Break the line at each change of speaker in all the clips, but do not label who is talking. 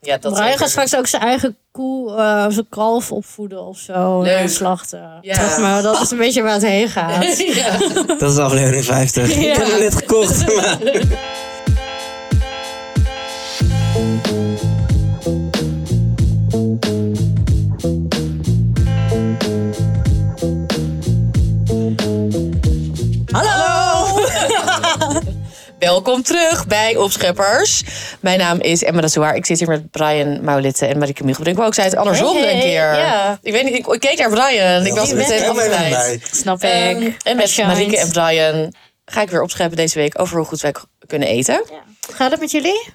Ja, dat
Brian gaat
zeker.
straks ook zijn eigen koe, eh, zijn kalf opvoeden of zo.
Leuk.
En dan slachten.
Ja.
Zeg maar, dat is een beetje waar het heen gaat.
Ja.
Dat is aflevering 50. Ik heb hem net gekocht. Maar...
Hallo! Welkom terug bij Opscheppers. Mijn naam is Emma de Zwaar. Ik zit hier met Brian Maulitten en Marieke Miegelbrink. Maar ook zij het andersom
Hey, hey,
een keer.
ja.
Ik weet niet, ik, ik keek naar Brian. Ik was er
bent
meteen
er
van
helemaal
bij.
bij.
Snap
Ehm,
ik.
en met
Shines.
Marieke en Brian ga ik weer opscheppen deze week over hoe goed wij k- kunnen eten.
Gaat het met jullie?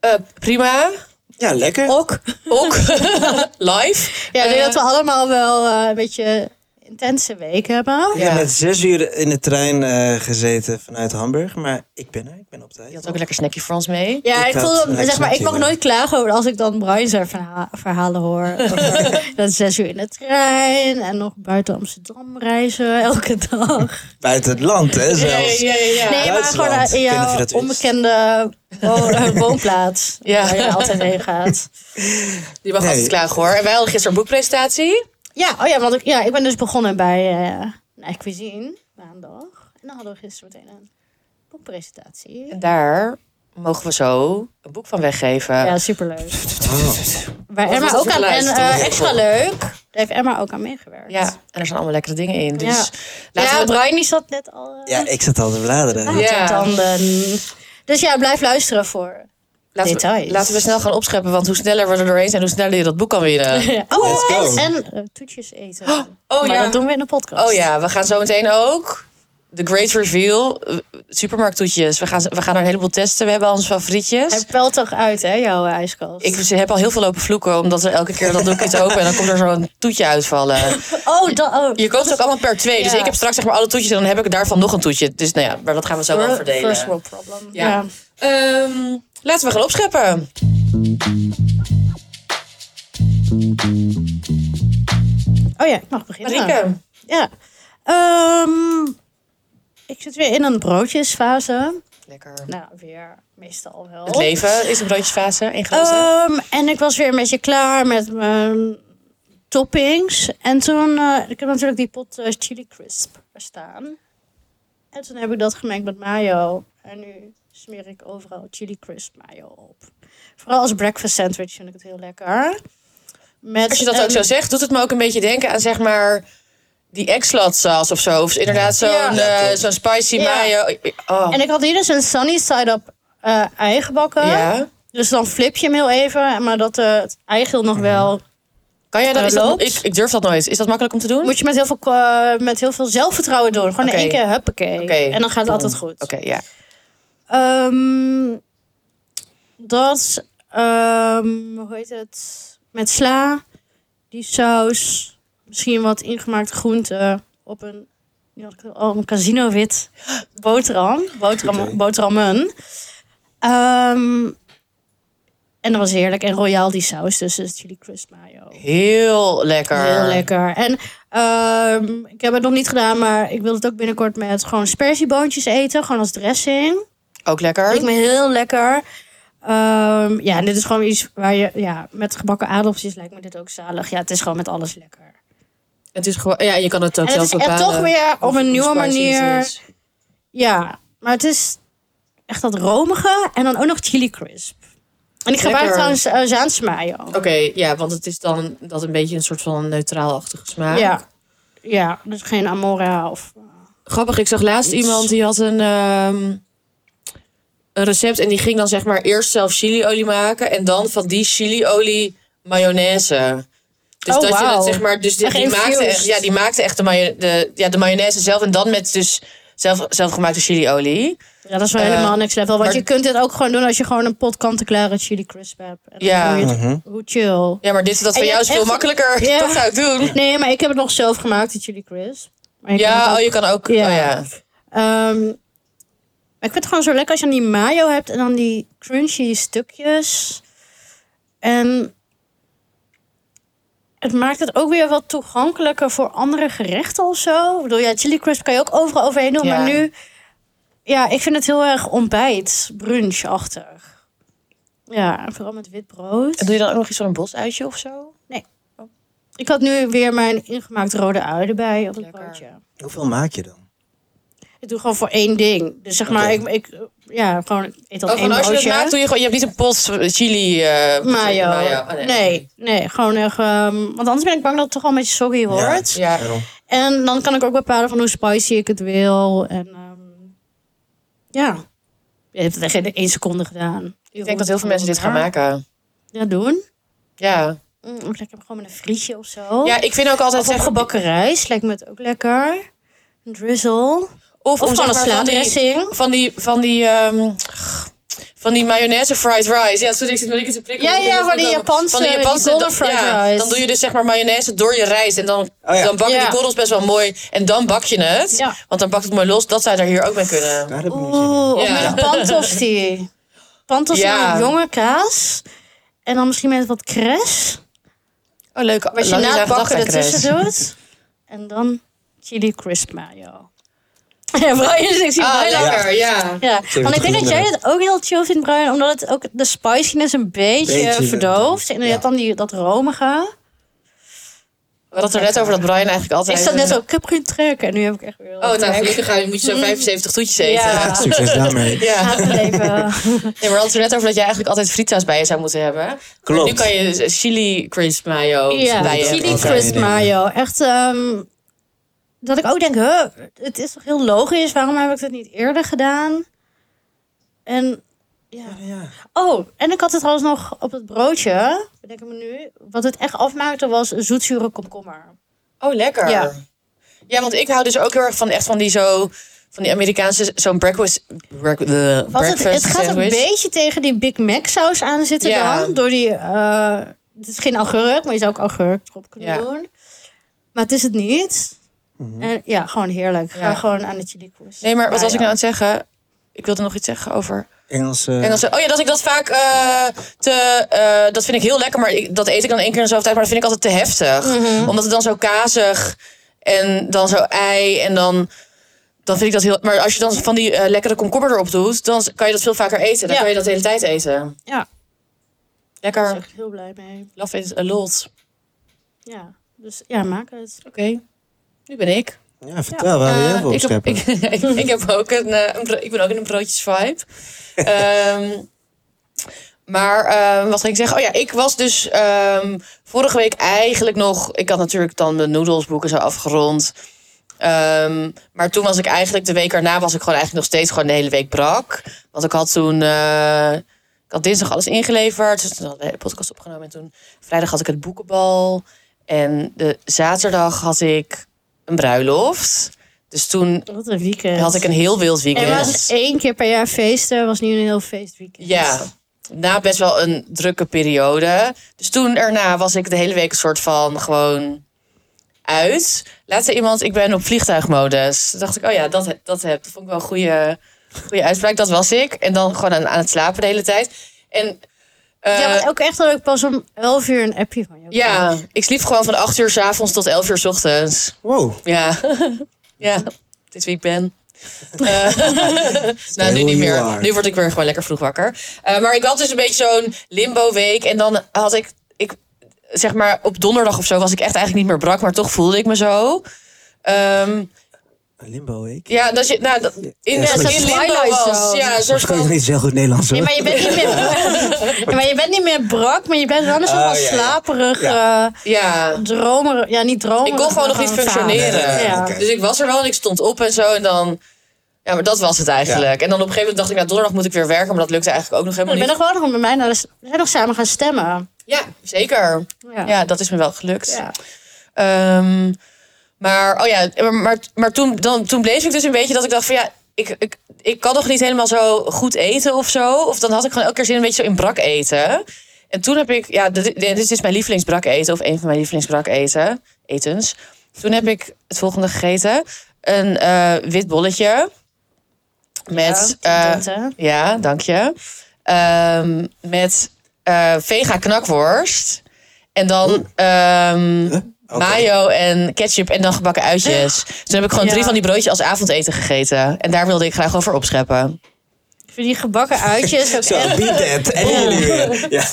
Eh, prima.
Ja, lekker.
Oh.
Ook.
Ook live.
Ja, ik denk
Eh,
dat we allemaal wel eh, een beetje intense week hebben.
Ik
ja.
heb net zes uur in de trein eh, gezeten vanuit Hamburg. Maar ik ben er. Ik ben op tijd.
Je had ook een lekker snackje Frans mee.
Ja,
Ik
ik,
had
voel,
een
zeg maar, ik mag
actietje.
nooit klagen over als ik dan Brian zijn verha- verhalen hoor. Over dat zes uur in de trein en nog buiten Amsterdam reizen elke dag.
Buiten het land, hè, zelfs.
ja, ja.
Nee, maar gewoon
Duitsland.
eh, in
Ik weet niet of
jouw
je dat wist.
onbekende wo- eh, woonplaats.
Ja.
Waar je altijd heen gaat.
Die mag
Nee.
altijd klagen hoor. En wij hadden gisteren een boekpresentatie.
Ja, oh ja, want ik, ja, ik ben dus begonnen bij eh nou, Cuisine maandag. En dan hadden we gisteren meteen een boekpresentatie.
En daar mogen we zo een boek van weggeven.
Ja, superleuk.
Oh.
Wat
Waar
was
Emma
het
ook
voor
aan, en
lijst?
eh, extra leuk, daar heeft Emma ook aan meegewerkt.
Ja, en er zijn allemaal lekkere dingen in. Dus
Ja.
laten
ja,
we
Brian die zat net al eh,
Ja, ik zat al te bladeren.
aan
Ah, Ja.
de tanden. Dus ja, blijf luisteren voor
laten, we,
details.
laten we snel gaan opscheppen. Want hoe sneller we er doorheen zijn, hoe sneller je dat boek kan winnen.
Oh,
go.
en, en eh, toetjes eten.
oh
maar
ja.
dat doen we in de podcast.
Oh ja, we gaan zo meteen ook. The Great Reveal. eh, Supermarkttoetjes. We gaan, we gaan er een heleboel testen. We hebben al onze
Hij
favorietjes.
pelt toch uit, hè, jouw eh, ijskast?
Ik heb al heel veel lopen vloeken, omdat er elke keer dat doe ik iets open en dan komt er zo'n toetje uitvallen.
Oh, dat... Oh.
Je koopt het ook allemaal per twee. Dus
Ja.
ik heb straks zeg maar alle toetjes en dan heb ik daarvan nog een toetje. Dus nou ja, maar dat gaan we zo wel verdelen.
First world problem.
Ja.
Ja.
Ehm, laten we gaan opscheppen.
Oh ja, ik mag beginnen.
Marieke.
Ja. Ehm, ik zit weer in een broodjesfase.
Lekker.
Nou, weer meestal wel.
Het leven is een broodjesfase in glazen.
Ehm, en ik was weer een beetje klaar met mijn toppings. En toen, eh, ik heb natuurlijk die pot eh, chili crisp er staan. En toen heb ik dat gemengd met mayo. En nu smeer ik overal chili crisp mayo op. Vooral als breakfast sandwich vind ik het heel lekker. Met,
Als je dat
een-
ook zo zegt, doet het me ook een beetje denken aan zeg maar die eggslot saus of zo. Of inderdaad zo'n
Ja.
eh, zo'n spicy
Ja.
mayo. Oh.
En ik had hier dus een sunny side up eh ei gebakken.
Ja.
Dus dan flip je hem heel even. Maar dat eh het eigeel
Mhm.
nog wel
Kan jij dat?
Eh,
Is dat
loopt.
ik, ik durf dat nooit. Is dat makkelijk om te doen?
Moet je met heel veel, eh, met heel veel zelfvertrouwen doen. Gewoon
Oké.
in één keer huppakee.
Oké.
En dan gaat het altijd goed.
Oké, ja.
Ehm, dat, ehm, hoe heet het? Met sla, die saus, misschien wat ingemaakte groenten op een, nu had ik het al, een casino wit boterham. boterham
Oké.
Boterhammen. Ehm, en dat was heerlijk. En royaal die saus, dus dus chili crisp mayo.
Heel lekker.
Heel lekker. En ehm, ik heb het nog niet gedaan, maar ik wil het ook binnenkort met gewoon sperzieboontjes eten. Gewoon als dressing.
Ook lekker.
Lijkt me heel lekker. Ehm, ja, en dit is gewoon iets waar je... Ja, met gebakken aardappeltjes lijkt me dit ook zalig. Ja, het is gewoon met alles lekker.
Het is gewoon, ja, je kan het ook
en het
zelf
is echt
bepalen.
toch weer op
hoe
een nieuwe
spicy het
manier...
is.
Ja, maar het is echt dat romige en dan ook nog chili crisp. En ik gebruik
Lekker.
trouwens eh, Zaanse mayo.
Oké, ja, want het is dan dat een beetje een soort van neutraalachtige smaak.
Ja. Ja, dus geen Amora of...
Grappig, ik zag laatst
Iets.
iemand die had een, ehm, een recept en die ging dan zeg maar eerst zelf chiliolie maken en dan van die chiliolie mayonaise. Dus
Oh,
dat je
wauw.
het zeg maar, dus die,
Echt
die maakte
infused.
echt, ja, die maakte echt de, mayo- de, ja, de mayonaise zelf en dan met dus zelf, zelfgemaakte chiliolie.
Ja, dat is wel
Eh,
helemaal niks level. Want
maar-
je kunt dit ook gewoon doen als je gewoon een pot kant-en-klare chili crisp hebt. En dan
Ja.
doe je het-
Mhm.
Hoe chill.
Ja, maar dit dat
En
van
je
jou is veel
hebt echt-
makkelijker.
Ja.
Dat zou ik doen.
Nee, maar ik heb het nog zelf gemaakt, die chili crisp. Maar je kan het
Ja,
ook-
oh, je kan ook.
Ja.
Oh, ja.
Ehm, maar ik vind het gewoon zo lekker als je dan die mayo hebt en dan die crunchy stukjes. En het maakt het ook weer wat toegankelijker voor andere gerechten of zo. Ik bedoel, ja, chili crisp kan je ook overal overheen doen.
Ja.
Maar nu, ja, ik vind het heel erg ontbijt, brunchachtig. Ja, en vooral met wit brood.
En doe je dan ook nog iets van een bosuitje of zo?
Ik had nu weer mijn ingemaakt rode ui erbij op het
Lekker.
broodje.
Hoeveel maak je dan?
Ik doe gewoon voor één ding. Dus zeg maar, ik,
Oké.
ik, ja, gewoon ik eet dan
Oh,
één
gewoon als je dat
broodje.
maakt, doe je gewoon... Je hebt niet een pot chili... eh
mayo.
Oh,
nee. nee, gewoon echt... ehm, want anders ben ik bang dat het toch wel een beetje soggy wordt.
Ja.
Daarom.
En dan kan ik ook bepalen van hoe spicy ik het wil. En ehm, ja, je hebt het echt in één seconde gedaan.
Ik denk dat heel veel mensen dit gaan maken.
Ja, doen.
Ja.
Mm, of lekker gewoon met een frietje of zo.
Ja, ik vind ook altijd...
of op
zeggen-
gebakken rijst lijkt me het ook lekker. Een drizzle. Of,
om,
gewoon een
zeg maar, van die-
slaadressing.
Van die... Van die ehm, van die mayonaise fried rice. Ja, sorry, ik zit nog niet te prikken.
Ja,
want ik
ja,
denk dat
van die
het ook-
Japanse-
Van die
die
Japanse...
golden
dan-
fried
ja,
rice.
Dan doe je dus zeg maar mayonaise door je rijst. En dan,
Oh ja.
dan bakken
Ja.
die korrels best wel mooi. En dan bak je het.
Ja.
Want dan bakt het mooi los. Dat zou je daar hier ook mee kunnen.
Daar heb ik nog zin in.
Oeh, of
Ja.
met Oh, een pantosti. Pantosti
Ja.
met jonge kaas. En dan misschien met wat crash.
Oh, leuk.
Wat je
Lang
na
niet aan
het bakken
gedacht, Chris.
ertussen doet. En dan chili crisp mayo. Ja, Brian, dus ik zie
Ah,
Brian
lekker, ja.
Ja,
het
want ik denk
goed
dat jij het ook heel chill vindt, Brian. Omdat het ook de spiciness een beetje,
Beetje,
verdooft. En je
ja.
hebt dan die, dat romige.
We hadden het er net over dat Brian eigenlijk altijd...
Ik zat net ook, ik heb geen trek. En nu heb ik echt weer...
Oh, het aan verliefd gaan, moet je zo 75 toetjes eten.
Ja.
Succes daarmee.
Ja.
Haatleven.
Nee, maar we hadden het er net over dat je eigenlijk altijd frietsaus bij je zou moeten hebben.
Klopt.
Nu kan je dus chili crisp mayo
Ja,
Oh, bij eh, je
chili
hebben.
Oké,
crisp
nee, nee.
mayo. Echt, ehm, dat ik ook denk, huh, het is toch heel logisch. Waarom heb ik dat niet eerder gedaan? En, ja.
Ja.
Oh, en ik had het trouwens nog op het broodje, bedenk ik me nu. Wat het echt afmaakte was zoetzure komkommer.
Oh, lekker.
Ja.
Ja. want ik hou dus ook heel erg van echt van die zo... Van die Amerikaanse, zo'n breakfast, break, de
Wat het,
breakfast
het gaat een
sandwich.
beetje tegen die Big Mac saus aan zitten
Ja.
dan. Door die, eh, het is geen augurk, maar je zou ook augurk erop kunnen
Ja.
doen. Maar het is het niet. En ja, gewoon heerlijk. Ga
Ja.
gewoon aan de chili koers.
Nee, maar wat was ik nou aan het zeggen? Ik wilde nog iets zeggen over...
Engelse.
En dan zo, oh ja, dat ik dat vaak eh, te. eh, dat vind ik heel lekker, maar ik, dat eet ik dan één keer in de zoveel tijd. Maar dat vind ik altijd te heftig. Omdat het dan zo kazig en dan zo ei en dan. Dan vind ik dat heel. Maar als je dan van die eh, lekkere komkommer erop doet, dan kan je dat veel vaker eten. Dan
Ja.
kan je dat de hele tijd eten.
Ja, daar ben ik
Lekker.
echt heel blij mee.
Love it a lot.
Ja, dus ja, maak het.
Oké. Nu ben ik.
Ja, vertel, waar wil
Eh,
jij voor
ik, heb,
opscheppen?
ik, ik, ik heb ook een, eh, een bro- ik ben ook in een broodjes vibe. Ehm, maar ehm, wat ging ik zeggen? Oh ja, ik was dus ehm, vorige week eigenlijk nog. Ik had natuurlijk dan mijn noedelsboeken zo afgerond. Ehm, maar toen was ik eigenlijk de week erna was ik gewoon eigenlijk nog steeds gewoon de hele week brak. Want ik had toen. eh, ik had dinsdag alles ingeleverd. Dus toen had ik de hele podcast opgenomen. En toen vrijdag had ik het boekenbal. En de zaterdag had ik een bruiloft. Dus toen
Wat een weekend.
had ik een heel wild
er
weekend.
was één keer per jaar feesten, was nu een heel feestweekend.
Ja, na best wel een drukke periode. Dus toen erna was ik de hele week een soort van gewoon uit. Laatste iemand, ik ben op vliegtuigmodus. Toen dacht ik, oh ja, dat, he- dat heb. Dat vond ik wel een goede, goede uitspraak. Dat was ik. En dan gewoon aan, aan het slapen de hele tijd. En, eh,
ja, want ook echt dat ik pas om 11 uur een appje van jou kreeg.
ja, ik sliep gewoon van 8 uur s avonds tot 11 uur s ochtends.
Wow.
Ja, ja dit is wie ik ben. Eh, nou, nu
who
niet
you
meer.
are.
Nu word ik weer gewoon lekker vroeg wakker. Eh, maar ik had dus een beetje zo'n limbo-week. En dan had ik, ik, zeg maar, op donderdag of zo was ik echt eigenlijk niet meer brak. Maar toch voelde ik me zo. Ehm,
Limbo, ik.
ja, dat je, nou, dat, in,
Ja,
dat
zo'n
je in limbo
Twilight
was.
Zone.
Ja, een soort
Dat kan ik
van...
niet zo goed Nederlands
Nee,
hoor.
maar je bent niet meer, Ja, maar je bent niet meer brak, maar je bent wel een soort
Oh,
van
ja, ja.
slaperig, eh,
Ja,
dromer. Ja, niet dromer.
ik kon gewoon nog niet functioneren.
Nee,
Ja.
oké.
Dus ik was er wel en ik stond op en zo. En dan... Ja, maar dat was het eigenlijk. En dan op een gegeven moment dacht ik, nou, donderdag moet ik weer werken. Maar dat lukte eigenlijk ook nog
Ik
helemaal
ben
niet.
nog gewoon nog met mij naar de, we zijn nog samen gaan stemmen.
Ja, zeker.
Ja.
Ja, dat is me wel gelukt.
Ja.
Ehm, maar, oh ja, maar- maar, maar toen, dan, toen bleef ik dus een beetje dat ik dacht van ja, ik, ik, ik kan nog niet helemaal zo goed eten of zo. Of dan had ik gewoon elke keer zin een beetje zo in brak eten. En toen heb ik, ja, dit, dit- dit is mijn lievelingsbrak eten of een van mijn lievelingsbrak eten, etens. Toen heb ik het volgende gegeten. Een eh, wit bolletje met eh,
dat, hè?
ja, dank je. Ehm, met eh, vega knakworst. En dan ehm,
Oké.
mayo en ketchup en dan gebakken uitjes. Toen heb ik gewoon
Ja.
drie van die broodjes als avondeten gegeten. En daar wilde ik graag over opscheppen.
Van die gebakken uitjes. ook
Zo,
echt.
be dead. En jullie weer. Ja.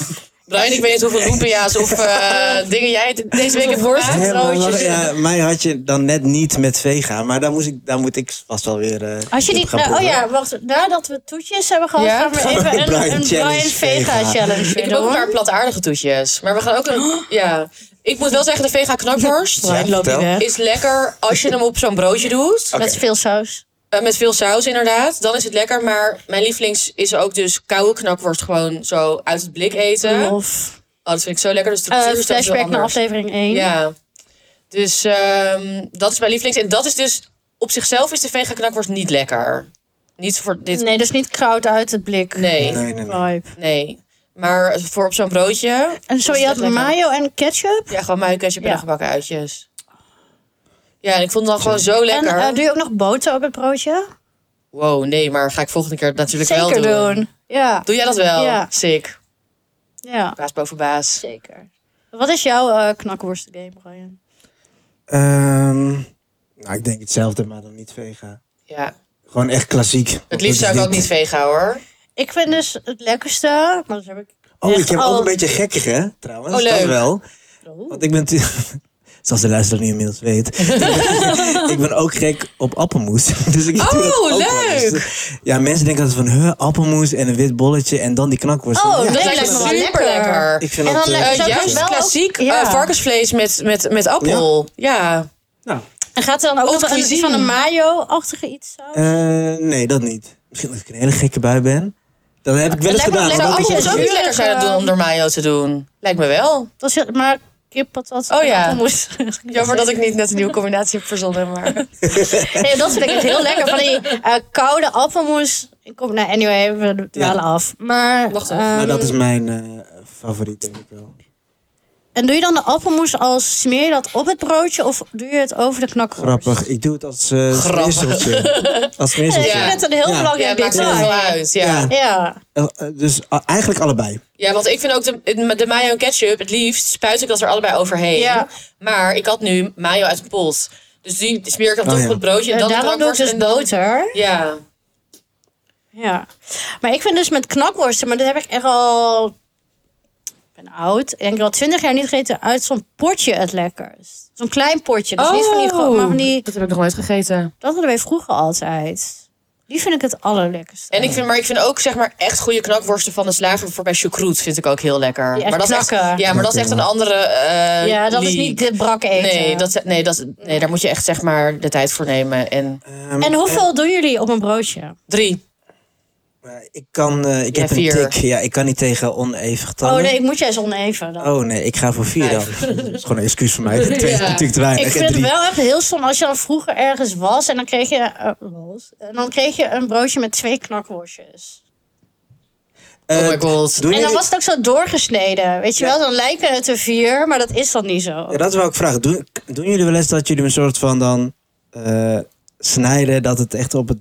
Brian, ik weet niet hoeveel lumpia's of eh, dingen jij het- deze week hebt
Worst.
gemaakt.
Nee, maar
broodjes.
wacht, ja, mij had je dan net niet met vega, maar daar, moest ik, daar moet ik vast wel weer. eh,
Als je
op
die,
gaan
nou, oh
proeven.
ja, wacht. Nadat we toetjes hebben gehad,
Ja?
gaan we even een
Brian
Brian, een
Challenge
Brian Vega
vega.
challenge
Ik heb ook een paar
doen.
plantaardige toetjes. Maar we gaan ook een... Ja. Ik moet wel zeggen, de vega knakworst
Ja,
Brian loopt
vertel.
niet weg.
is lekker als je hem op zo'n broodje doet.
Oké.
Met veel saus.
Eh, met veel saus inderdaad. Dan is het lekker. Maar mijn lievelings is ook dus koude knakworst gewoon zo uit het blik eten. Oh,
Of
dat vind ik zo lekker. Dus de
eh,
structuur is dan zo
flashback naar
anders.
aflevering 1.
Ja. Dus ehm, dat is mijn lievelings. En dat is dus... Op zichzelf is de vega knakworst niet lekker. Niet voor dit...
Nee, dus niet kraut uit het blik.
Nee.
Nee, nee, nee.
Vibe.
Nee. Maar voor op zo'n broodje...
En zo,
is
je
echt
had
lekker.
mayo en ketchup.
Ja, gewoon muiketje en
Ja.
gebakken uitjes. Ja, en ik vond het dan gewoon zo lekker.
En eh, doe je ook nog boter op het broodje?
Wow, nee, maar ga ik volgende keer natuurlijk
Zeker
wel doen.
Ja.
Doe jij dat wel?
Ja.
Sick.
ja,
Baas boven baas.
zeker. Wat is jouw eh knakworstengame, Brian?
Ehm, nou, ik denk hetzelfde, maar dan niet vega.
Ja.
Gewoon echt klassiek.
Het
Want
liefst
dat
zou
is
ik ook
dit.
niet vega hoor.
Ik vind dus het lekkerste, maar dat heb ik...
Oh, ik
echt
heb ook
al-
een beetje gekkig, hè? Trouwens,
Oh, leuk.
dat wel.
Oh.
Want ik ben... tu- Zoals de luisteraar nu inmiddels weet. ik ben ook gek op appelmoes. Dus ik doe dat
Oh,
ook wel eens. Ja, mensen denken altijd van... Huh, appelmoes en een wit bolletje en dan die knakworst.
Oh,
ja,
dat
dat
lijkt
lijkt
me
me
wel
super
lekker.
lekker.
ik vind
en dan
dat... eh,
lekker-
Eh,
Zou ik
juist
wel ook-
klassiek
ja.
eh, varkensvlees met, met, met appel. Ja.
nou,
En gaat er dan ook
Haute
nog een,
cuisine.
van een mayo-achtige iets saus?
eh, nee, dat niet. Misschien dat ik een hele gekke bui ben. Dat heb ik wel eens
lijkt me
gedaan.
Zou
lekker
maar dat
appel
appel
is
ook
ook
niet
heerlijk,
lekker zijn
eh.
doen om door mayo te doen? Lijkt me wel.
Dat is, maar kip, patat,
Oh ja.
appelmoes.
Jammer dat ik niet net een nieuwe combinatie heb verzonnen, maar...
Nee, dat vind ik echt heel lekker. Van die eh, koude appelmoes. Ik kom, nou, anyway, we dwalen af. Maar,
Wacht even.
ehm,
Maar dat is mijn eh, favoriet, denk ik wel.
En doe je dan de appelmoes als smeer je dat op het broodje of doe je het over de knakworst?
Grappig. Ik doe het als eh
Grappig.
smeerseltje. als
Nee,
smeerseltje.
ik
Ja.
vind het een heel
Ja.
Ja,
belangrijk
het maakt niet
detail.
veel uit. Ja.
Ja.
Ja.
Eh, eh, Dus a- eigenlijk allebei.
Ja, want ik vind ook de, de mayo en ketchup het liefst spuit ik dat er allebei overheen.
Ja.
Maar ik had nu mayo uit een pot. Dus die smeer ik dan
Oh,
toch
ja.
op het broodje. En
En
dan de
daarom doe ik
knakworst
dus
en dan-
boter.
Ja.
Ja. Maar ik vind dus met knakworsten, maar dat heb ik echt al... Ik ben oud. Ik denk al twintig jaar niet gegeten. Uit zo'n potje het lekkerst. Zo'n klein potje. Dus niet van
Oh.
die grote, maar van die...
Dat heb ik nog nooit gegeten.
Dat hadden wij vroeger altijd. Die vind ik het allerlekkerste.
En ik vind, maar ik vind ook zeg maar echt goede knakworsten van de slager voor bij choucroute vind ik ook heel lekker.
Die echt
maar dat is echt-
knakken.
ja, maar dat is echt een andere. eh,
ja, dat is
league.
niet dit brak eten.
Nee, dat, nee, dat, nee, daar moet je echt zeg maar de tijd voor nemen. En
Ehm,
En hoeveel doen jullie op een broodje?
drie.
eh, ik kan, eh, ik
Ja,
heb een
vier.
tik. Ja, ik kan niet tegen oneven
Oh
getallen.
nee, ik moet juist oneven. Dan.
Oh nee, ik ga voor vier dan. dat is gewoon een excuus voor mij. Twee
Ja.
is natuurlijk te weinig.
ik
En
vind het
drie.
wel echt heel stom als je dan vroeger ergens was en dan kreeg je, eh, was, en dan kreeg je een broodje met twee knakworstjes.
oh
Eh,
my god.
doen
En dan
jullie-
was het ook zo doorgesneden. Weet je
Ja.
wel, dan lijken het er vier, maar dat is dan niet zo.
Ja, dat wou ik vragen. Doen, doen jullie wel eens dat jullie een soort van dan eh, snijden dat het echt op het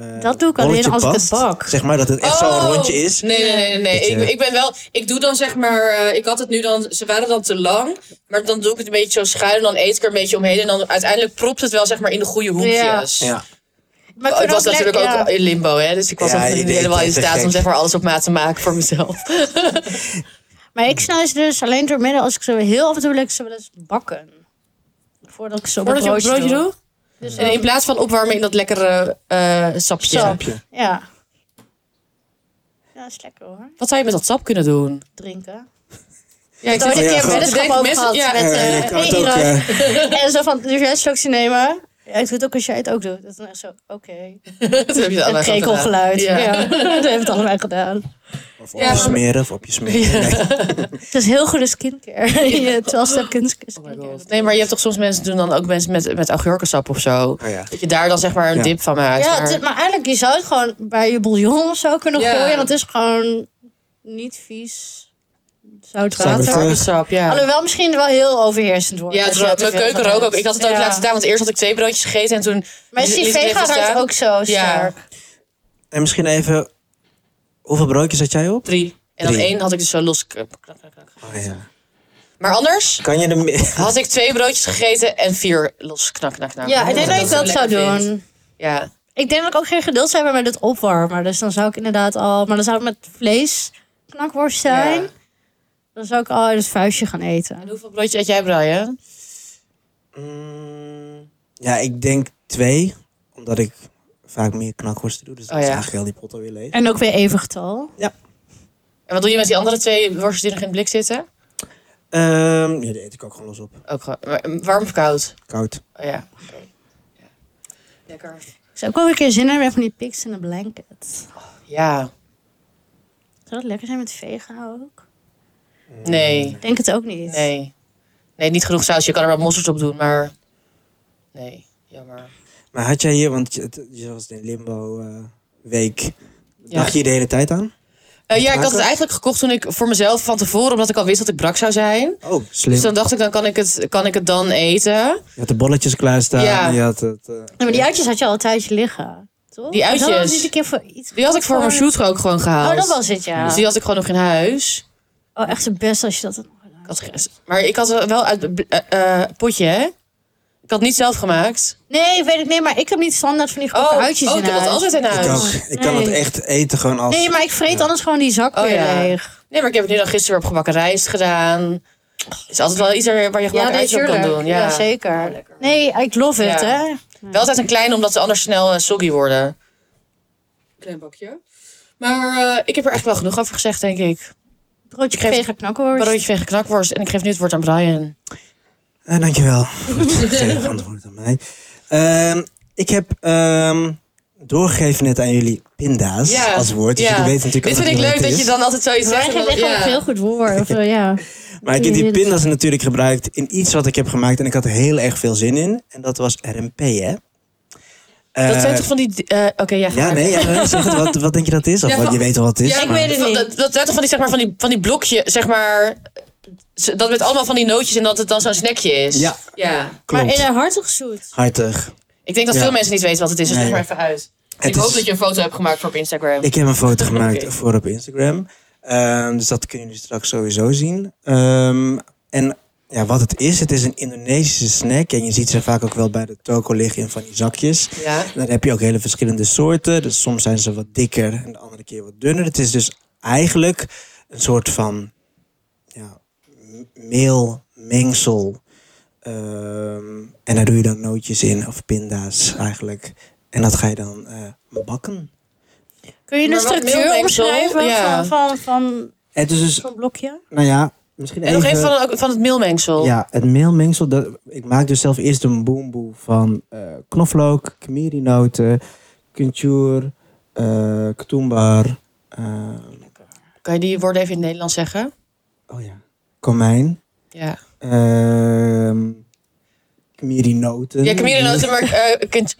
eh,
Dat doe ik alleen
rolletje
als ik het
past?
bak.
Zeg maar dat het echt zo'n rondje is.
Oh! Nee, nee, nee. nee, nee.
Beetje-
Ik, ik ben wel... Ik doe dan zeg maar... eh, ik had het nu dan... Ze waren dan te lang. Maar dan doe ik het een beetje zo schuin. En dan eet ik er een beetje omheen. En dan uiteindelijk propt het wel zeg maar in de goede hoekjes.
Ja.
Maar
Oh,
ik
het
vind
was
ook
natuurlijk
lekker-
ook in limbo, hè? Dus ik was
Ja,
nog
je
niet
deed
helemaal
het
in
te
staat om
gek.
zeg maar alles op maat te maken voor mezelf.
Maar ik snij ze dus alleen door midden als ik ze heel af en toe lekker ze wel eens bakken. Voordat ik ze op
Voordat je
een
op het
broodje,
broodje
doe. Dus,
doet? En in plaats van opwarmen in dat lekkere eh, sapje.
Sap.
Snap je?
Ja. Ja, dat is lekker hoor.
Wat zou je met dat sap kunnen doen?
Drinken.
Ja, ik
Oh, dit
ja,
keer
gewoon-
weddenschap ook gehad.
ja,
met,
Ja,
eh,
je kan het
één
ook,
euro.
eh,
En zo van, dus jij straks te nemen. Ja, ik doe het ook als jij het ook doet. Dat is dan echt zo, oké.
dat heb je
Een
allemaal gedaan.
krekelgeluid. Ja.
Ja.
dat hebben we allebei gedaan.
Of op
Ja,
je
maar-
smeren, of op je smeren. Nee.
Het is heel goede skincare. Je 12 step
Oh my
skincare.
god. Nee, maar je hebt toch soms mensen doen dan ook mensen met, met augurkensap of zo.
Oh ja.
Dat je daar dan zeg maar een
Ja.
dip van maakt.
Ja,
maar-
het is- maar eigenlijk, je zou het gewoon bij je bouillon of zo kunnen
Ja.
gooien. Dat is gewoon niet vies. Zout
Zou ik
water.
het-
Augurkensap, ja.
Alhoewel misschien wel heel overheerstend worden.
Ja,
als
het
je
rook,
te
mijn
veel
keuken
van
rook ook.
hebt.
Ik had het ook
Ja.
laatst gedaan, want eerst had ik twee broodjes gegeten en toen...
Maar is die
liet ik het
vega
even
ruikt
staan.
ook zo sterk.
En misschien even, hoeveel broodjes had jij op?
Drie. En dan
Drie.
één had ik dus zo los.
Oh, ja.
Maar anders
Kan je er meer...
had ik twee broodjes gegeten en vier los knak knak knak.
Ja, ik denk dat
ik
ik dat
zo
zou
lekker vind.
doen.
Ja.
Ik denk dat ik ook geen geduld zou hebben met het opwarmen. Dus dan zou ik inderdaad al... Maar dan zou het met vlees knakworst zijn.
Ja.
Dan zou ik al in het vuistje gaan eten.
En hoeveel broodjes eet jij, Brian?
Mm, ja, ik denk twee. Omdat ik vaak meer knakworsten doe. Dus dan
Oh
is
ja.
eigenlijk wel die pot alweer leeg.
En ook weer even getal.
En wat doe je met die andere twee worstjes die nog in het blik zitten?
Ehm, ja, die eet ik ook gewoon los op.
Ook gewoon, maar warm of koud?
Koud.
Oh ja. Oké. Ja. Lekker.
Ik zou ook wel weer een keer zin hebben van die pigs in een blanket.
Ja.
Zou dat lekker zijn met vega ook?
Nee.
Mm.
Ik denk het ook niet.
Nee. Nee, niet genoeg saus. Je kan er wel mosterd op doen, maar... Nee. Jammer.
Maar had jij hier, want je, het- je was in limbo eh, week.
Ja.
Dacht je hier de hele tijd aan?
Eh, ja, ik had het
Maken?
eigenlijk gekocht toen ik voor mezelf van tevoren, omdat ik al wist dat ik brak zou zijn.
Oh,
Dus
slim.
dan dacht ik, dan kan ik het, kan ik het dan eten.
Je had de bolletjes klaarstaan.
Ja.
en Je had het, eh,
Ja, maar die uitjes had je al een tijdje liggen. Toch?
Die uitjes?
Dat was niet een keer voor iets
Die had ik voor mijn shoot ook gewoon gehaald.
Oh, dat was het, ja.
Dus die had ik gewoon nog in huis.
Oh, echt het best als je dat had nog gedaan.
Ik had ge- maar ik had wel uit het eh, potje, hè? Ik had het niet zelf gemaakt.
Nee, weet ik niet, maar ik heb niet standaard van die grote uitjes
oh,
in
ik heb dat
huis.
altijd in
ik
huis.
ook. Ik kan
Nee.
het echt eten gewoon als...
Nee, maar ik vreet
Ja.
anders gewoon die zak
Oh,
weer
ja.
leeg.
Nee, maar ik heb het nu dan gisteren weer op gebakken rijst gedaan. Er is altijd wel iets er- waar je gewoon ijs op kan
tuurlijk.
doen. Ja.
Ja, zeker. Nee, ik love it,
Ja.
hè.
Wel altijd een kleine, omdat ze anders snel eh, soggy worden. Klein bakje. Maar eh, ik heb er echt wel genoeg over gezegd, denk ik.
Broodje
Ik geef-
vega knakworst.
Broodje vegen knakworst. En ik geef nu het woord aan Brian.
Eh, dankjewel voor het gegeven antwoord aan mij. Ehm, ik heb ehm, doorgegeven net aan jullie pinda's
Ja,
als woord. Dus
ja.
jullie weten
Dit
natuurlijk ook
vind ik
wat
leuk
het
dat je
is.
dan altijd zoiets
Jij
zegt.
geeft
omdat-
echt wel een
ja.
heel goed woord. of, eh, ja.
Maar ik heb die
Jullie-
pinda's natuurlijk gebruikt in iets wat ik heb gemaakt. En ik had er heel erg veel zin in. En dat was RMP, hè?
Dat
Eh,
zijn toch van die... eh, Oké, ja, ga
Ja,
maar.
nee, ja, nee, zeg het. Wat, wat denk je dat het is? Of
Ja,
wat,
van-
je weet wel wat het is.
Ja, ik
maar-
weet het
Van-
niet.
Dat, dat zijn toch van die, zeg maar, van die, van die blokje, zeg maar... z- Dat met allemaal van die nootjes en dat het dan zo'n snackje is.
Ja.
ja.
Maar
Klopt.
in een hartig zoet.
Hartig.
Ik denk dat
Ja.
veel mensen niet weten wat het is, dus
Nee.
leg maar even uit.
Het
ik hoop
is-
dat je een foto hebt gemaakt voor op Instagram.
Ik heb een foto gemaakt
Oké.
voor op Instagram. Ehm, dus dat kunnen jullie straks sowieso zien. Ehm, en ja, wat het is, het is een Indonesische snack. En je ziet ze vaak ook wel bij de toko liggen in van die zakjes.
Ja.
En dan heb je ook hele verschillende soorten. Dus soms zijn ze wat dikker en de andere keer wat dunner. Het is dus eigenlijk een soort van ja, m- meelmengsel. Ehm, en daar doe je dan nootjes in of pinda's eigenlijk. En dat ga je dan eh, bakken.
Kun je de
Maar wat
structuur
mailmengsel?
omschrijven
Ja.
van, van, van
Het is dus
zo'n blokje?
Nou ja, misschien
en nog even van, ook van het meelmengsel.
eh, Ja, het meelmengsel. Dat, ik maak dus zelf eerst een boemboe van eh, knoflook, kamerinoten, kunchur, eh ketumbar, eh,
Kan je die woorden even in het Nederlands zeggen?
oh ja, komijn,
Ja.
ehm kamerinoten.
Ja, kamerinoten, maar... eh kent-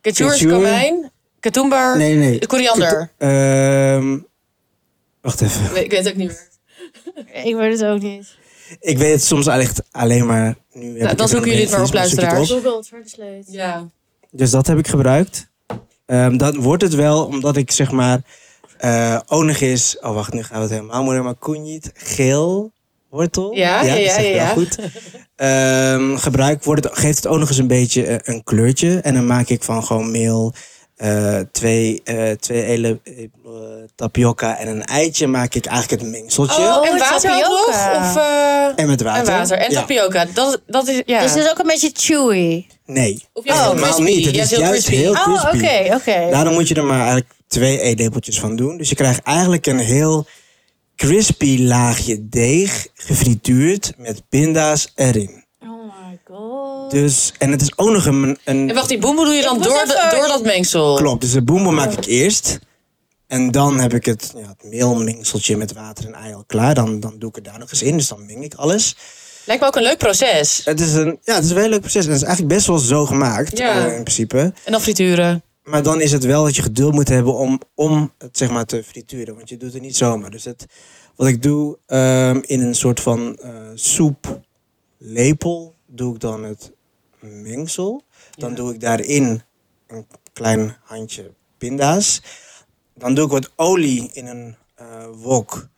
Kentjoer is
Kentjoer.
komijn. Katoenbar.
Nee, nee.
Koriander.
Ketu- ehm, wacht even.
Ik weet het ook niet meer.
Ik weet het ook niet.
Ik weet het soms echt alleen maar... Nu heb
dan
ik
zoeken
een
jullie het maar op,
beetje, zoek ik het
luisteraars.
Google Translate.
Ja.
Dus dat heb ik gebruikt. Ehm, dan wordt het wel, omdat ik zeg maar... eh onig is... Oh, wacht, nu gaan we het helemaal moeilijk. Maar kunjit, geel, wortel.
Ja, ja,
dat
ja,
zeg ik wel
ja.
goed. Ehm, gebruik wordt het, geeft het ook nog eens een beetje eh, een kleurtje. En dan maak ik van gewoon meel... eh, twee eh, twee hele eh, tapioca en een eitje maak ik eigenlijk het mengseltje.
Oh, en
Oh,
water ook nog?
tapioca.
Of, eh,
En met water.
En water. En
Ja.
tapioca. Dat, dat is... Ja.
Dus het is ook een beetje chewy.
Nee,
Of juist heel
helemaal
crispy.
niet. Het
Ja,
is
heel
juist
crispy.
heel
Oh,
crispy.
oké, oké.
Daarom moet je er maar eigenlijk twee eetlepeltjes van doen. Dus je krijgt eigenlijk een heel crispy laagje deeg gefrituurd met pinda's erin.
Oh my god.
Dus, en het is ook nog een...
En
een
wacht, die boemboe doe je dan
moet
door, de-
even-
door dat mengsel?
klopt, dus de boemboe maak ik eerst. En dan heb ik het, ja, het meelmengseltje met water en ei al klaar. Dan, dan doe ik het daar nog eens in, dus dan meng ik alles.
Lijkt me ook een leuk proces.
Het is een, ja, het is een heel leuk proces. En het is eigenlijk best wel zo gemaakt,
Ja.
eh, in principe.
En dan frituren.
Maar dan is het wel dat je geduld moet hebben om, om het zeg maar te frituren. Want je doet het niet zomaar. Dus het, wat ik doe ehm, in een soort van eh, soeplepel doe ik dan het mengsel. Dan
Ja.
doe ik daarin een klein handje pinda's. Dan doe ik wat olie in een eh, wok.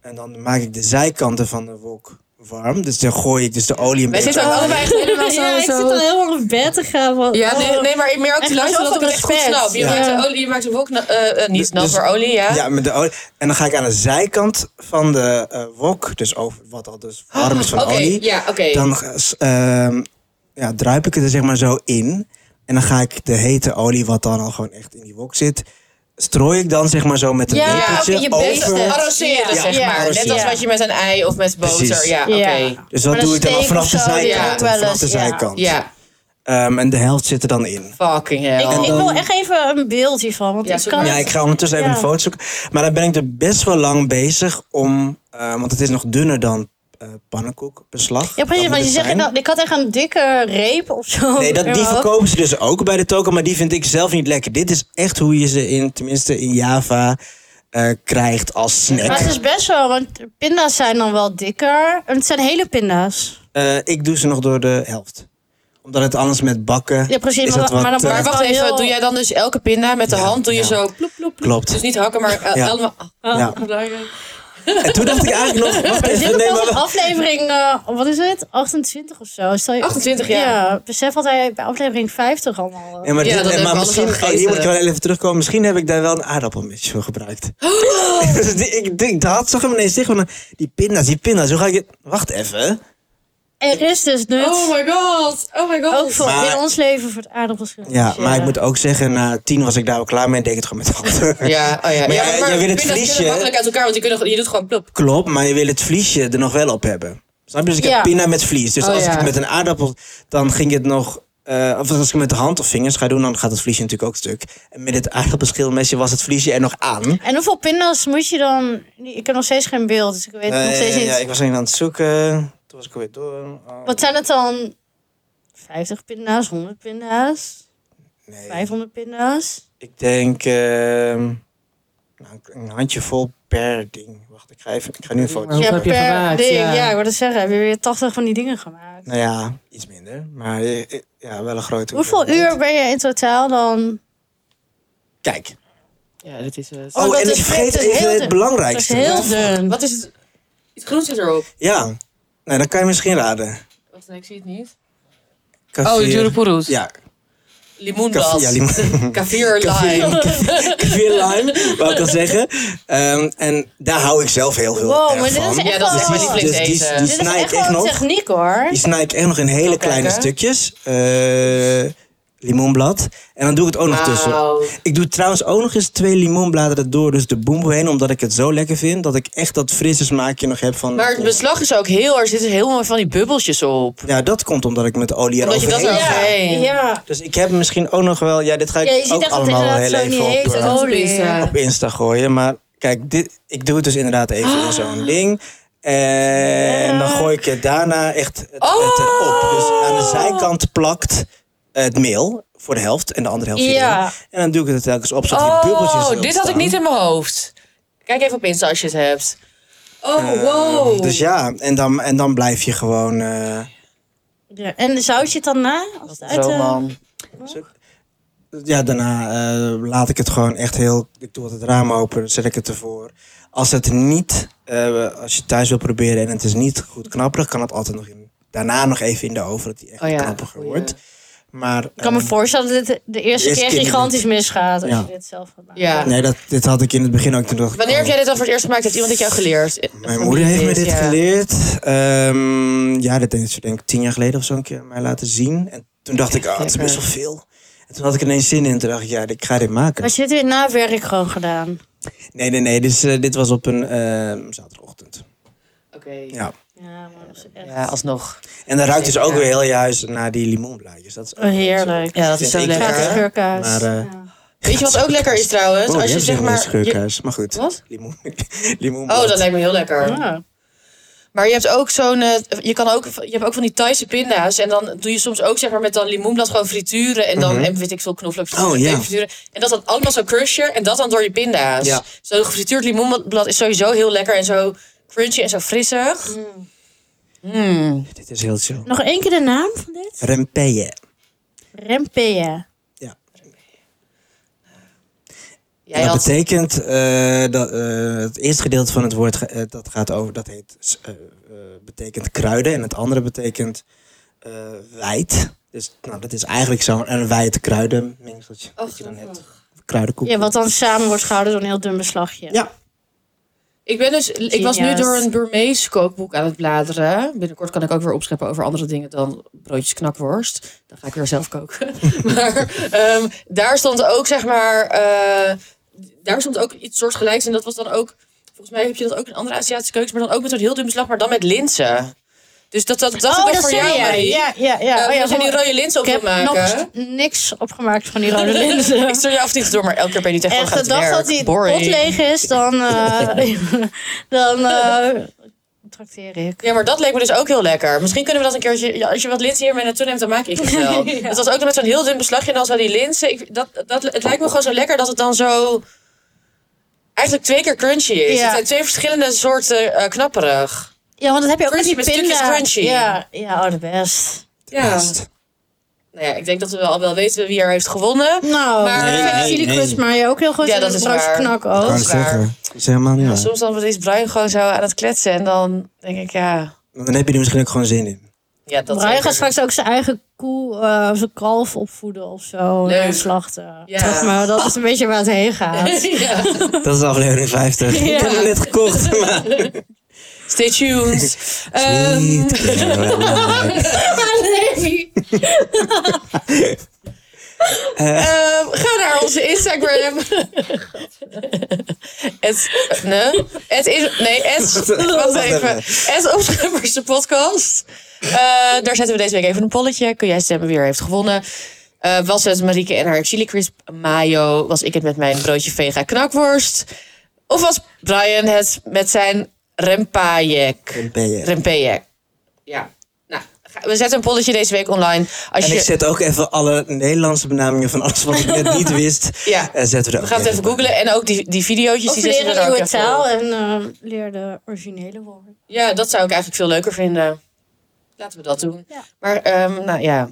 En dan maak ik de zijkanten van de wok warm. Dus dan gooi ik dus de olie een
Wij
beetje
zitten ook allebei echt helemaal zo...
ja, ik zit
zo-
al helemaal naar bed te gaan. want-
Ja,
oh.
nee, nee, maar ik merk
Echt
te luisteren dat ik het echt goed
respect.
snap. Je,
Ja.
maakt de olie, je maakt hem ook na- eh, eh, niet nat,
Dus-
maar olie, ja.
Ja, met de olie. En dan ga ik aan de zijkant van de eh, wok, dus over wat al dus warm
Oh,
is van
Oké,
olie.
ja, oké.
Dan ehm, ja, druip ik het er zeg maar zo in. En dan ga ik de hete olie, wat dan al gewoon echt in die wok zit, strooi ik dan zeg maar zo met een
Ja,
lepeltje
oké, je bent Oh,
over.
het.
Arroseren,
Ja.
zeg
Ja,
maar. Net als
arroseren.
wat je met een ei of met boter.
Precies.
Ja, oké. Ja.
Dus wat
Maar een
doe ik dan al
steak
vanaf
of
de
zo, ja,
zijkant?
ook wel
vanaf
eens,
de
ja.
zijkant. Ehm, en de helft zit er dan in.
fucking hell.
Ik, ik wil echt even een beeld hiervan. Want
Ja,
ik
zoek
kan
maar.
Ja,
het-
ik ga ondertussen even
Ja.
een foto zoeken. Maar dan ben ik er best wel lang bezig om... eh, want het is nog dunner dan eh pannenkoekbeslag.
Ja, precies.
Dat
Want je
moet het
zegt,
zijn.
nou, ik had echt een dikke reep of zo.
Nee, dat, die
erop.
verkopen ze dus ook bij de token, maar die vind ik zelf niet lekker. Dit is echt hoe je ze in, tenminste in Java, eh, krijgt als snack.
Maar het is best wel, want pinda's zijn dan wel dikker. En het zijn hele pinda's.
Eh, ik doe ze nog door de helft. Omdat het anders met bakken
Ja, precies,
is
maar-
dat wat,
maar dan
eh,
Maar wacht
Wel
even,
heel-
doe jij dan dus elke pinda met de hand? Doe je
ja.
zo ploep, ploep, ploep.
Klopt.
Dus niet hakken, maar eh,
Ja.
allemaal...
Oh.
ja.
belangrijk.
En toen dacht ik eigenlijk nog... Wacht
Dit
even,
is
nee,
pas
maar,
een aflevering, eh, wat is het? 28 of zo. Stel je,
28, ja.
besef wat hij bij aflevering 50 allemaal...
Ja, maar,
Ja,
dit-
dat
eh,
hebben
maar
we
misschien...
alles al
oh, hier moet ik
gegeten.
wel even terugkomen. Misschien heb ik daar wel een aardappelmesje voor gebruikt.
Oh!
Dus die- ik, ik had zag hem ineens zeggen van... Die pinda's, die pinda's. Hoe ga ik... dit- Wacht even.
Er is dus nut,
Oh my god, oh my god.
ook voor,
Maar-
in ons leven, voor het aardappelschil.
Ja, maar ik moet ook zeggen, na tien was ik daar wel klaar mee en deed ik het gewoon met de hand.
Ja, oh ja.
Maar jij- jij wil het
pinda's kunnen
vliesje, hè?
makkelijk uit elkaar, want je, kunt, je doet gewoon plop.
Klopt, maar je wil het vliesje er nog wel op hebben. Snap je? Dus ik
Ja.
heb pinda met vlies. Dus
Oh,
als
ja.
ik het met een aardappel, dan ging het nog... eh, of als ik het met de hand of vingers ga doen, dan gaat het vliesje natuurlijk ook stuk. En met het aardappelschilmesje was het vliesje er nog aan.
En hoeveel pinda's moet je dan... Ik heb nog steeds geen beeld, dus ik weet nog steeds
Eh,
niet.
ja, ik was alleen aan het zoeken. Toen was ik alweer door. Oh,
Wat zijn het dan? 50 pinda's, 100 pinda's,
nee.
500 pinda's?
Ik denk ehm, nou, een handjevol per ding. Wacht, ik ga, even, ik ga nu een foto
Hoeveel
Ja,
heb je gemaakt?
ding.
Ja.
Ja. ik wou het zeggen. Heb je weer 80 van die dingen gemaakt?
Nou ja, iets minder. Maar eh, eh, ja, wel een grote
Hoeveel
hoeveelheid.
uur ben je in totaal dan?
Kijk.
Ja, dat
eh,
is het.
Oh,
dat
en
is
ik vergeet
vet, dat is heel
even het
dun. Dat is
belangrijkste.
heel dun.
Wat is het? Iets groens zit erop.
Ja. Nou, dat kan je misschien raden.
Wacht, nee, ik zie het niet.
Kaffir.
Jurupuru's.
Ja,
Limoenblad.
kaffir. Ja, limo-
Kaffir lime.
kaffir lime, wou ik al zeggen. Ehm, en daar hou ik zelf heel veel
Wow, maar
erg
dit is
van.
echt
Ja, dat is echt mijn
Oh.
Dus die,
lievelingseten.
die
Dit is
snijd
echt
ik
wel
echt
een
nog.
techniek hoor.
Die snij ik echt nog in hele kleine
kijken.
stukjes. Eh limoenblad. En dan doe ik het ook nog tussen.
Wauw.
Ik doe trouwens ook nog eens twee limonbladeren door. Dus de boemboe heen. Omdat ik het zo lekker vind. Dat ik echt dat frisse smaakje nog heb van...
Maar het beslag is ook heel... Er zitten heel mooi van die bubbeltjes op.
Ja, dat komt omdat ik met de olie
Omdat je
eroverheen
dat
ga.
er ook- Oké.
ja.
Dus ik heb misschien ook nog wel... Ja, dit ga ik
Ja, je ziet
ook
echt dat het
allemaal
inderdaad
heel
zo niet
even
heet.
op, eh,
op
Olie.
Insta.
op Insta gooien. Maar kijk, dit, ik doe het dus inderdaad even in
Ah.
zo'n ding. En dan gooi ik het daarna echt het, het
Oh!
erop. Dus aan de zijkant plakt het meel voor de helft en de andere helft hierin.
Ja.
En dan doe ik het er telkens op, zodat die bubbeltjes erop
Oh, dit had ik
staan.
niet in mijn hoofd. Kijk even op Insta als je het hebt. Oh, wow.
Dus ja, en dan, en dan blijf je gewoon... eh,
Ja. En zout je het dan na? Als het uit,
Zo,
eh,
man.
ja, daarna eh, laat ik het gewoon echt heel... Ik doe altijd het raam open, dan zet ik het ervoor. Als het niet... eh, als je thuis wil proberen en het is niet goed knapperig... kan het altijd nog in, daarna nog even in de oven... dat die echt
Oh ja,
knapperiger
goeie.
wordt. Maar...
Ik kan me
ehm,
voorstellen dat dit de eerste
Eerste
keer
keer die
gigantisch misgaat als
Ja.
je dit zelf gaat maken.
Ja.
Nee, dat, dit had ik in het begin ook. Toen dacht ik,
Wanneer heb
oh,
jij dit dan voor het eerst gemaakt? Heeft iemand dit jou geleerd?
Mijn moeder heeft me dit geleerd. Ehm, ja, dat heeft ze denk ik tien jaar geleden of zo een keer mij laten zien. En toen dacht ik, oh, het is best wel veel. En toen had ik ineens zin in. Toen dacht ik, ja, ik ga dit maken.
Maar je hebt dit na werk gewoon gedaan.
Nee, nee, nee. Dus, eh, dit was op een ehm, zaterdagochtend.
Oké.
Ja.
Ja, maar dat is echt
Ja, alsnog.
En dan ruikt dus ook
Ja.
weer heel juist naar die limoenblaadjes. Dat is ook
oh, heerlijk.
Ja, dat is zo
Ik-
Gaat
Ja,
de
lekker.
geur-
geurkaas.
maar, eh,
Ja.
Weet je wat ook lekker is trouwens?
Oh,
Als je zeg maar... je-
Scheurkaas. Maar goed.
Wat?
Limoen. limoenblad.
Oh, dat lijkt me heel lekker.
Ja.
Maar je hebt ook zo'n. eh, je, kan ook, je hebt ook van die Thaise pinda's. En dan doe je soms ook zeg maar met dan limoenblad gewoon frituren. En dan en weet ik veel knoflook frituren.
Mhm. Oh, ja.
peper frituren. En dat dan allemaal zo crushen. En dat dan door je pinda's.
Ja.
Zo'n gefrituurd limoenblad is sowieso heel lekker. En zo crunchy en zo frissig. Mm.
Dit is heel chill.
Nog één keer de naam van dit?
Rempeye.
Rempeye.
Ja.
Jij
dat
had...
betekent eh, dat eh, het eerste gedeelte van het woord ge- eh, dat gaat over, dat heet, eh, eh, betekent kruiden en het andere betekent eh, wijd. Dus nou, dat is eigenlijk zo'n een wijd kruidenmengseltje dat je dan hebt. Kruidenkoek.
Ja, wat dan samen wordt gehouden door een heel dun beslagje.
Ja.
Ik, ben dus, ik was nu
Genius.
door een Burmees kookboek aan het bladeren. Binnenkort kan ik ook weer opscheppen over andere dingen dan broodjes knakworst. Dan ga ik weer zelf koken. maar ehm, daar stond ook, zeg maar, eh, daar stond ook iets soortgelijks. En dat was dan ook, volgens mij heb je dat ook in andere Aziatische keukens, maar dan ook met zo'n heel dun beslag, maar dan met linzen. Dus dat, dat dacht ik
Oh,
wel
dat
voor
zei
jou,
jij.
Marie.
Ja, ja, ja.
Eh,
oh, ja
dat je die
gewoon-
rode linzen op
ik
wil
heb
maken.
nog niks opgemaakt van die rode linzen.
ik stuur je af en toe door, maar elke keer ben je niet echt van
Echt,
gaat
de
het
dag
werk.
dat die
Boring.
pot leeg is, dan, eh, dan eh trakteer ik.
Ja, maar dat leek me dus ook heel lekker. Misschien kunnen we dat een keertje... ja, als je wat linzen hier mee naartoe neemt, dan maak ik het wel.
Ja.
Het was ook nog met zo'n heel dun beslagje en dan zo die linzen. Ik, dat, dat, het lijkt me gewoon zo lekker dat het dan zo... Eigenlijk twee keer crunchy is.
Ja.
Het zijn twee verschillende soorten eh, knapperig.
Ja, want dat heb je ook met die
Crunchy met stukjes
pinda.
crunchy.
Ja, ja, oh, de best.
Ja. Nou ja, ik denk dat we wel, al wel weten wie er heeft gewonnen.
Nou,
Maar-
maar,
Nee,
ik vind
nee,
chili
nee.
crisp maar je ook heel goed
Ja,
in
dat
het
is
broodje
waar.
knak
Dat
Kan
is
ook.
ik
waar.
zeggen. Dat is helemaal niet
Ja,
waar.
soms dan is Brian gewoon zo aan het kletsen en dan denk ik, ja...
Want Dan heb je er misschien ook gewoon zin in.
ja dat
Brian
zeker.
gaat straks ook zijn eigen koe, eh, zijn kalf opvoeden of zo.
Leuk.
En slachten.
Ja.
Zeg maar, dat is een beetje waar het heen gaat.
Ja.
Dat is aflevering 50.
Ja.
Ik heb hem net gekocht, maar...
Stay tuned. Ehm,
Niet belangrijk. Eh,
Ehm, ga naar onze Instagram. het, nee, het is, nee, het, wacht even. Het Opscheppers, de podcast. Eh, daar zetten we deze week even een polletje. Kun jij stemmen wie er heeft gewonnen? Eh, was het Marieke en haar chili crisp mayo? Was ik het met mijn broodje vega knakworst? Of was Brian het met zijn rempajek?
dan ben je.
Rempejek. Ja. Nou, ga- we zetten een polletje deze week online. Als
En
je,
ik zet ook even alle Nederlandse benamingen van alles wat ik net niet wist.
Ja.
eh, zetten we er
We
ook
gaan het even
bij.
googlen en ook die, die video's.
Of
Die zetten we er
leer een
ook
nieuwe
even
taal
op.
en eh, leer de originele woorden.
Ja, dat zou ik eigenlijk veel leuker vinden. Laten we dat doen.
Ja.
Maar ehm, nou ja,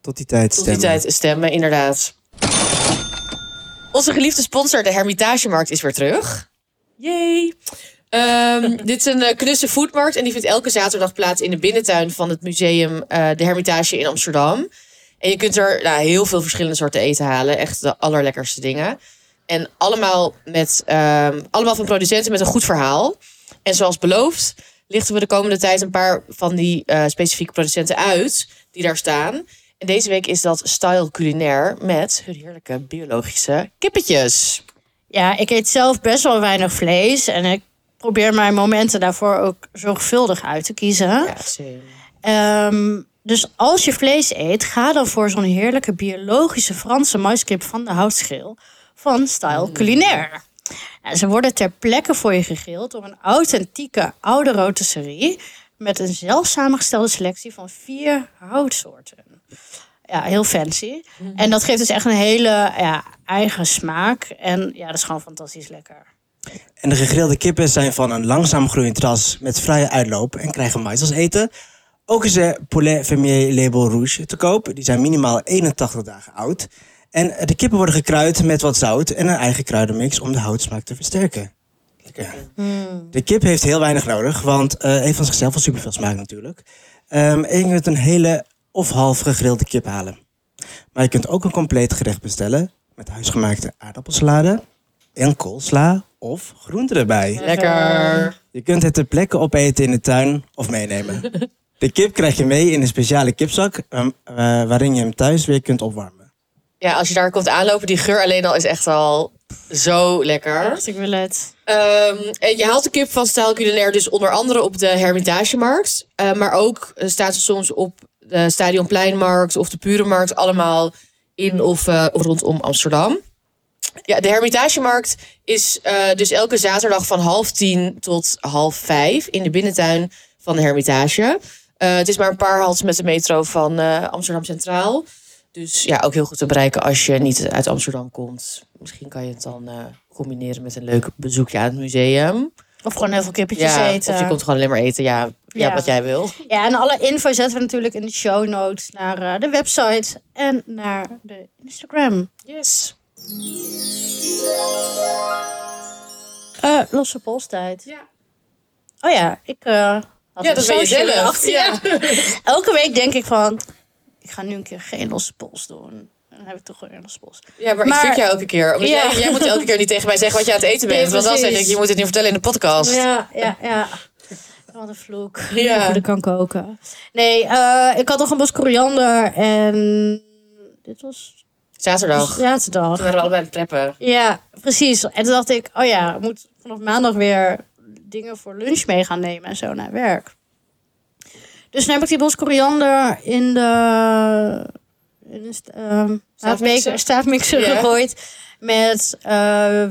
Tot die tijd
tot
stemmen.
die tijd stemmen, inderdaad. Onze geliefde sponsor, de Hermitagemarkt, is weer terug. Yay! Ehm, dit is een eh, knusse foodmarkt en die vindt elke zaterdag plaats in de binnentuin van het museum eh, De Hermitage in Amsterdam. En je kunt er nou, heel veel verschillende soorten eten halen. Echt de allerlekkerste dingen. En allemaal, met, ehm, allemaal van producenten met een goed verhaal. En zoals beloofd lichten we de komende tijd een paar van die eh, specifieke producenten uit die daar staan. En deze week is dat Style Culinair met hun heerlijke biologische kippetjes.
Ja, ik eet zelf best wel weinig vlees. En ik probeer mijn momenten daarvoor ook zorgvuldig uit te kiezen.
Ja, same.
Ehm, dus als je vlees eet, ga dan voor zo'n heerlijke biologische Franse maiskip van de houtschil van
Mm.
Style Culinair. En ze worden ter plekke voor je gegrild door een authentieke oude rotisserie met een zelf samengestelde selectie van vier houtsoorten. Ja, heel fancy.
Mm.
En dat geeft dus echt een hele ja, eigen smaak. En ja, dat is gewoon fantastisch lekker.
En de gegrilde kippen zijn van een langzaam groeiend ras met vrije uitloop en krijgen mais als eten. Ook is er Poulet Fermier Label Rouge te koop. Die zijn minimaal 81 dagen oud. En eh, de kippen worden gekruid met wat zout en een eigen kruidenmix om de houtsmaak te versterken. Ja. De kip heeft heel weinig nodig, want eh heeft van zichzelf al superveel smaak natuurlijk. Ehm en je kunt een hele of half gegrilde kip halen. Maar je kunt ook een compleet gerecht bestellen met huisgemaakte aardappelsalade en koolsla of groenten erbij.
Lekker.
Je kunt het ter plekke opeten in de tuin of meenemen. De kip krijg je mee in een speciale kipzak ehm, eh, waarin je hem thuis weer kunt opwarmen.
Ja, als je daar komt aanlopen, die geur alleen al is echt al zo lekker.
Echt, Dus ik wil het.
Ehm, en je haalt de kip van Style Culinair dus onder andere op de Hermitagemarkt. Eh, maar ook eh, staat ze soms op de Stadionpleinmarkt of de Puremarkt. Allemaal in of eh, of rondom Amsterdam. Ja, de Hermitagemarkt is eh, dus elke zaterdag van half tien tot half vijf in de binnentuin van de Hermitage. Eh, het is maar een paar haltes met de metro van eh, Amsterdam Centraal. Dus ja, ook heel goed te bereiken als je niet uit Amsterdam komt. Misschien kan je het dan eh, combineren met een leuk bezoekje aan het museum.
Of gewoon heel veel kippetjes
Ja,
eten.
of je komt gewoon alleen maar eten, ja, ja.
Ja.
wat jij wil.
Ja, en alle info zetten we natuurlijk in de show notes naar eh, de website en naar de Instagram.
Yes.
Eh, losse polstijd.
Ja.
Oh ja, ik eh had
Ja,
een
dat ben je
social
zelf.
dag.
Ja.
Elke week denk ik van, ik ga nu een keer geen losse pols doen. En dan heb ik toch gewoon een losse pols.
ja, maar ik
Maar-
stuk jou elke keer. Omdat
Ja.
jij, jij moet elke keer niet tegen mij zeggen wat je aan het eten
Ja,
bent. want dan zeg
precies.
ik, je moet het niet vertellen in de podcast.
Ja, ja, ja. Wat een vloek.
Ja.
Hoe dat kan koken. Nee, eh, ik had nog een bos koriander en dit was
Zaterdag. Toen
Dus zaterdag.
waren we allebei aan het preppen.
Ja, precies. En toen dacht ik, oh ja, ik moet vanaf maandag weer dingen voor lunch mee gaan nemen en zo naar werk. Dus toen heb ik die bos koriander in de, in de st- ehm,
Staafmixer?
staafmixer
Ja.
gegooid met eh,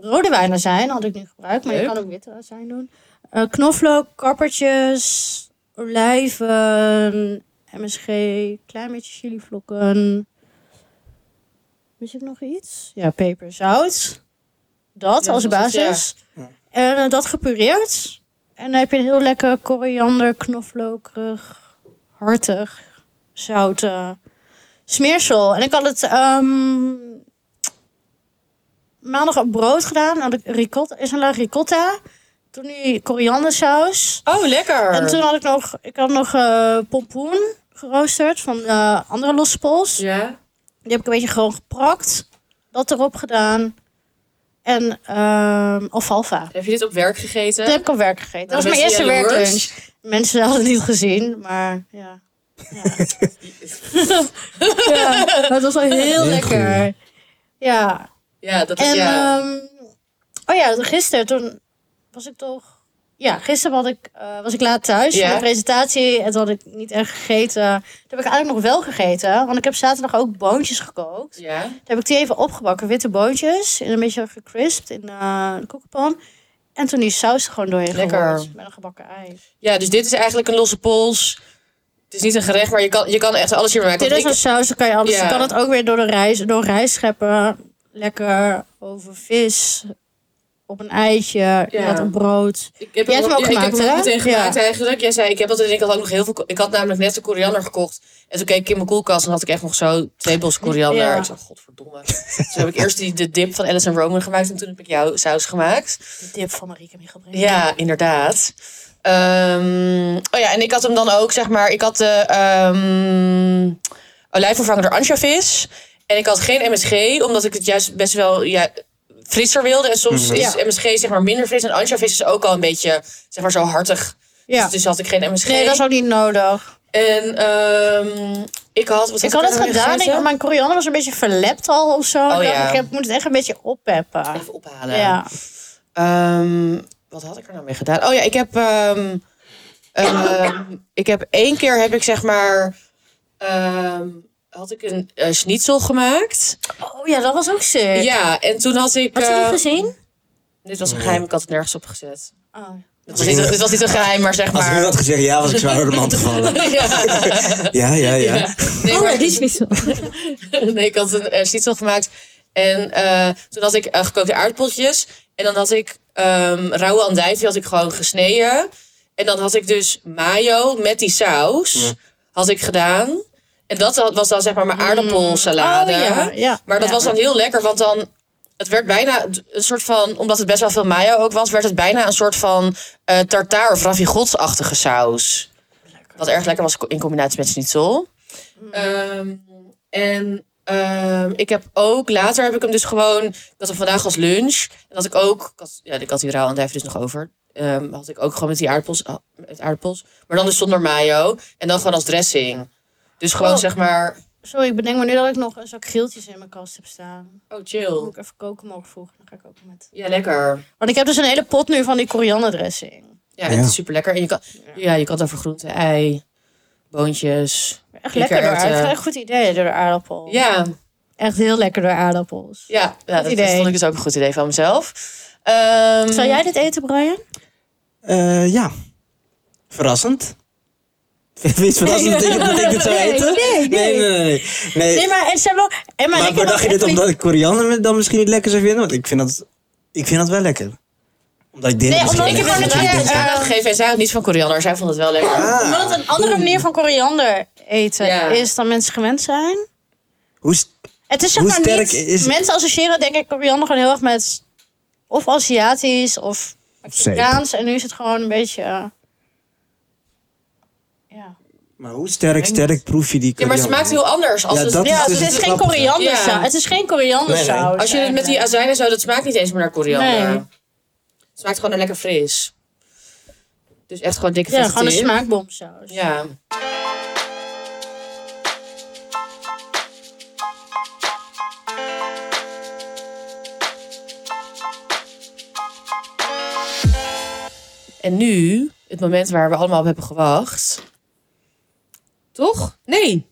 rode wijnazijn, had ik niet gebruikt, maar
Leuk.
je kan ook witte azijn doen. Eh, knoflook, kappertjes, olijven, MSG, klein beetje chilivlokken. Mis ik nog iets? Ja, peper, zout.
Ja,
Dat als
dat was het,
basis.
ja.
En eh, dat gepureerd. En dan heb je een heel lekker koriander, knoflookerig, hartig, zout eh, smeersel. En ik had het ehm, maandag op brood gedaan. Had ik ricotta, is een laag ricotta. Toen die koriandersaus.
Oh, lekker.
En toen had ik nog, ik had nog eh, pompoen geroosterd van eh, andere losse pols.
Ja.
Die heb ik een beetje gewoon geprakt. Dat erop gedaan. En ehm alfalfa.
Heb je dit op werk gegeten?
Dat heb ik op werk gegeten. Dat was mijn eerste werklunch. Mensen hadden het niet gezien, maar ja. Ja, ja maar het was wel heel
Heel
lekker. Ja.
Ja, dat is
En
ja.
ehm, oh ja, gisteren toen was ik toch... Ja, gisteren had ik, eh, was ik laat thuis
Ja.
voor de presentatie. En toen had ik niet echt gegeten. Toen heb ik eigenlijk nog wel gegeten. Want ik heb zaterdag ook boontjes gekookt.
ja.
Toen heb ik die even opgebakken, witte boontjes. En een beetje gecrispt in eh, de koekenpan. En toen die saus er gewoon doorheen
Lekker.
gegooid Met een gebakken ei.
Ja, dus dit is eigenlijk een losse pols. Het is niet een gerecht, maar je kan, je kan echt alles hiermee maken.
Dit is
Want
een saus, dan kan je alles.
Ja.
Je kan het ook weer door de rijst, door rijst scheppen. Lekker over vis. Op een eitje.
Ja.
Wat op brood.
ik, ik heb
Jij hebt hem ook
ja, ik heb
gemaakt,
hem ook
hè?
meteen gemaakt
Ja.
eigenlijk. Jij zei, ik heb dat en ik had ook nog heel veel... ko- Ik had namelijk net de koriander gekocht. En toen keek ik in mijn koelkast en had ik echt nog zo twee bos koriander.
Ja.
Ik dacht, godverdomme. dus heb ik eerst die, de dip van Alice en Roman gemaakt. En toen heb ik jouw saus gemaakt.
De dip van Marieke Michelbrink.
Ja, inderdaad. Ehm, oh ja, en ik had hem dan ook, zeg maar, ik had de ehm olijfvervanger door anchovies. En ik had geen MSG, omdat ik het juist best wel ja, frisser wilde. En soms
Mhm.
is MSG zeg maar minder fris. En anchovies is ook al een beetje, zeg maar, zo hartig.
Ja.
Dus, dus had ik geen MSG.
Nee, dat is ook niet nodig.
En ehm, ik had... Wat
ik had
er
het
nou weer
gedaan.
gegeten?
Ik, mijn koriander was een beetje verlept al of zo. Ik dacht,
Oh, ja.
Ik heb- moet het echt een beetje oppeppen.
Even ophalen.
Ja.
Ehm, wat had ik er nou mee gedaan? Oh ja, ik heb, ehm, ehm, ik heb één keer heb ik zeg maar ehm, had ik een eh, schnitzel gemaakt.
Oh ja, dat was ook sick.
Ja, en toen had ik.
Had je
eh,
dat gezien?
dit was een geheim, ik had het nergens op gezet.
Oh.
Het was niet, dit was niet een geheim, maar zeg
Als ik nu
maar.
had gezegd ja, was ik zwaar door de mand gevallen.
Ja,
Ja, ja, ja.
nee,
Oh
maar-
niet zo.
nee, ik had een eh, schnitzel gemaakt. En eh, toen had ik eh, gekookte aardappeltjes. En dan had ik ehm rauwe andijvie die had ik gewoon gesneden. En dan had ik dus mayo met die saus. Had ik gedaan. En dat had- was dan zeg maar mijn aardappelsalade.
Mm. Oh, ja, ja.
Maar dat
Ja.
was dan heel lekker, want dan... Het werd bijna een soort van, omdat het best wel veel mayo ook was, werd het bijna een soort van eh tartaar of ravigotsachtige saus. Wat erg lekker was co- in combinatie met schnitzel. Ehm, en ehm, ik heb ook, later heb ik hem dus gewoon, ik had hem vandaag als lunch. En had ik ook, ik had, ja, ik had die rauw andijven dus nog over. Ehm, had ik ook gewoon met die aardappels, ah, met aardappels. Maar dan dus zonder mayo. En dan gewoon als dressing. Dus gewoon
Oh.
zeg maar,
Sorry, ik bedenk me nu dat ik nog een zak geeltjes in mijn kast heb staan.
oh
Dan moet
chill.
ik even koken mogen vroegen. Dan ga ik ook met.
Ja, lekker.
Want ik heb dus een hele pot nu van die korianderdressing.
Ja, en
Ja.
het is super lekker. En je kan, ja, je kan het over groente, ei, boontjes.
Echt
Lekker
lekker door
uit, eh.
aardappels. Goed idee door de aardappel.
Ja,
Echt heel lekker door aardappels.
ja, ja dat, dat
idee.
vond ik dus ook een goed idee van mezelf. Ehm,
Zou jij dit eten, Brian?
Eh, ja. Verrassend. Vind je het verrassend dat ik, dat ik dit zou eten?
Nee, nee,
Nee, nee, nee. nee. nee.
Nee, maar eh, en zijn wel. En maar,
Eh, maar
ik heb
bedacht je
ook
dit
echt
omdat ik koriander dan misschien niet lekker zou vinden? Want ik vind dat, ik vind dat wel lekker. Omdat ik dit
Nee,
misschien
omdat
Ik heb
Ik
haar
lekker
het
natuurlijk
net
vind.
een
eh,
aandacht gegeven en zij houdt niet van koriander. Zij vond het wel
Ah,
lekker.
niet- Omdat het een andere manier van koriander eten
Ja.
is dan mensen gewend zijn.
Hoe is
Het is zeg
Hoe
maar
sterk
niet...
is-
Mensen associëren denk ik koriander gewoon heel erg met... Of Aziatisch, of
zeep.
Afrikaans. En nu is het gewoon een beetje... eh, ja.
Maar hoe sterk, sterk proef je die
Ja, maar het smaakt heel anders. Als
Ja,
het,
dat
ja,
is
dus het
het
is geen
grappige.
koriandersaus.
Ja.
Het is geen koriandersaus.
Nee, nee.
als je het met die
eigenlijk.
azijnen zou, dat smaakt niet eens meer naar koriander.
Nee.
Het smaakt gewoon lekker fris. Dus echt gewoon dikke
Ja,
vette
gewoon een
tip.
smaakbomsaus.
Ja. En nu, het moment waar we allemaal op hebben gewacht. Toch? Nee.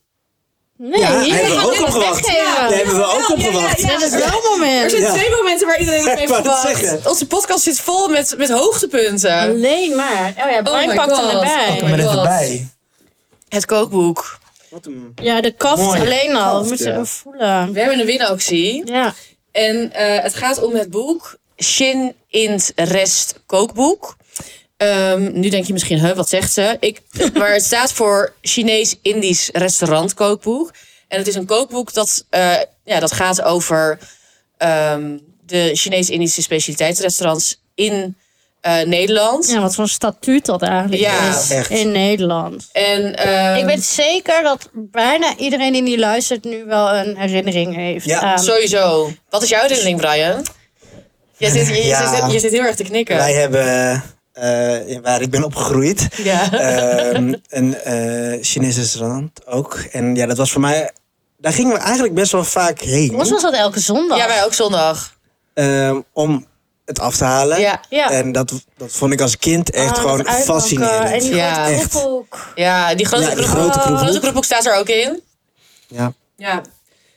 Nee,
Ja,
hier
hebben we
gaan
ook
dit
op gewacht.
weggeven.
Ja.
Daar hebben we ook
Oh,
op
Ja, ja, ja.
gewacht.
Dat is wel een
Er
moment.
zijn
Ja.
twee momenten waar iedereen op
Ik
heeft
wou net
gewacht.
zeggen.
Onze podcast zit vol met, met hoogtepunten.
Alleen maar. Oh ja, Brian
my
pakt
God.
hem erbij.
Pak hem
Maar
God.
even bij.
Het kookboek.
Wat een...
Ja, de kaft
Mooi.
alleen al.
Kaft,
we moeten
ja.
hem voelen.
We hebben een winactie.
Ja.
En eh, het gaat om het boek Shin in het Rest Kookboek. Ehm, nu denk je misschien, huh, wat zegt ze? Ik, maar het staat voor Chinees-Indisch Restaurant Kookboek. En het is een kookboek dat, eh, ja, dat gaat over ehm, de Chinees-Indische specialiteitsrestaurants in eh, Nederland.
ja, wat voor statuut dat eigenlijk
Ja,
is
echt.
in Nederland.
En, ehm,
Ik weet zeker dat bijna iedereen die nu luistert nu wel een herinnering heeft.
Ja,
aan-
Sowieso. Wat is jouw herinnering, Brian? Je zit, je, je
Ja.
zit, je zit heel erg te knikken.
Wij hebben, eh, in waar ik ben opgegroeid,
Ja.
ehm, een eh Chinese restaurant ook. En ja, dat was voor mij... Daar gingen we eigenlijk best wel vaak heen.
Ons was dat elke zondag.
ja, wij ook zondag.
ehm, om het af te halen.
Ja. Oh,
Ja.
En dat, dat vond ik als kind echt
Ah,
gewoon
dat uitbakken En
fascinerend.
die
Ja.
grote
Echt.
koepelk.
Ja, die grote,
Ja, die
groep- Oh,
grote kroeg.
grote kroephoek staat er ook in.
Ja.
Ja.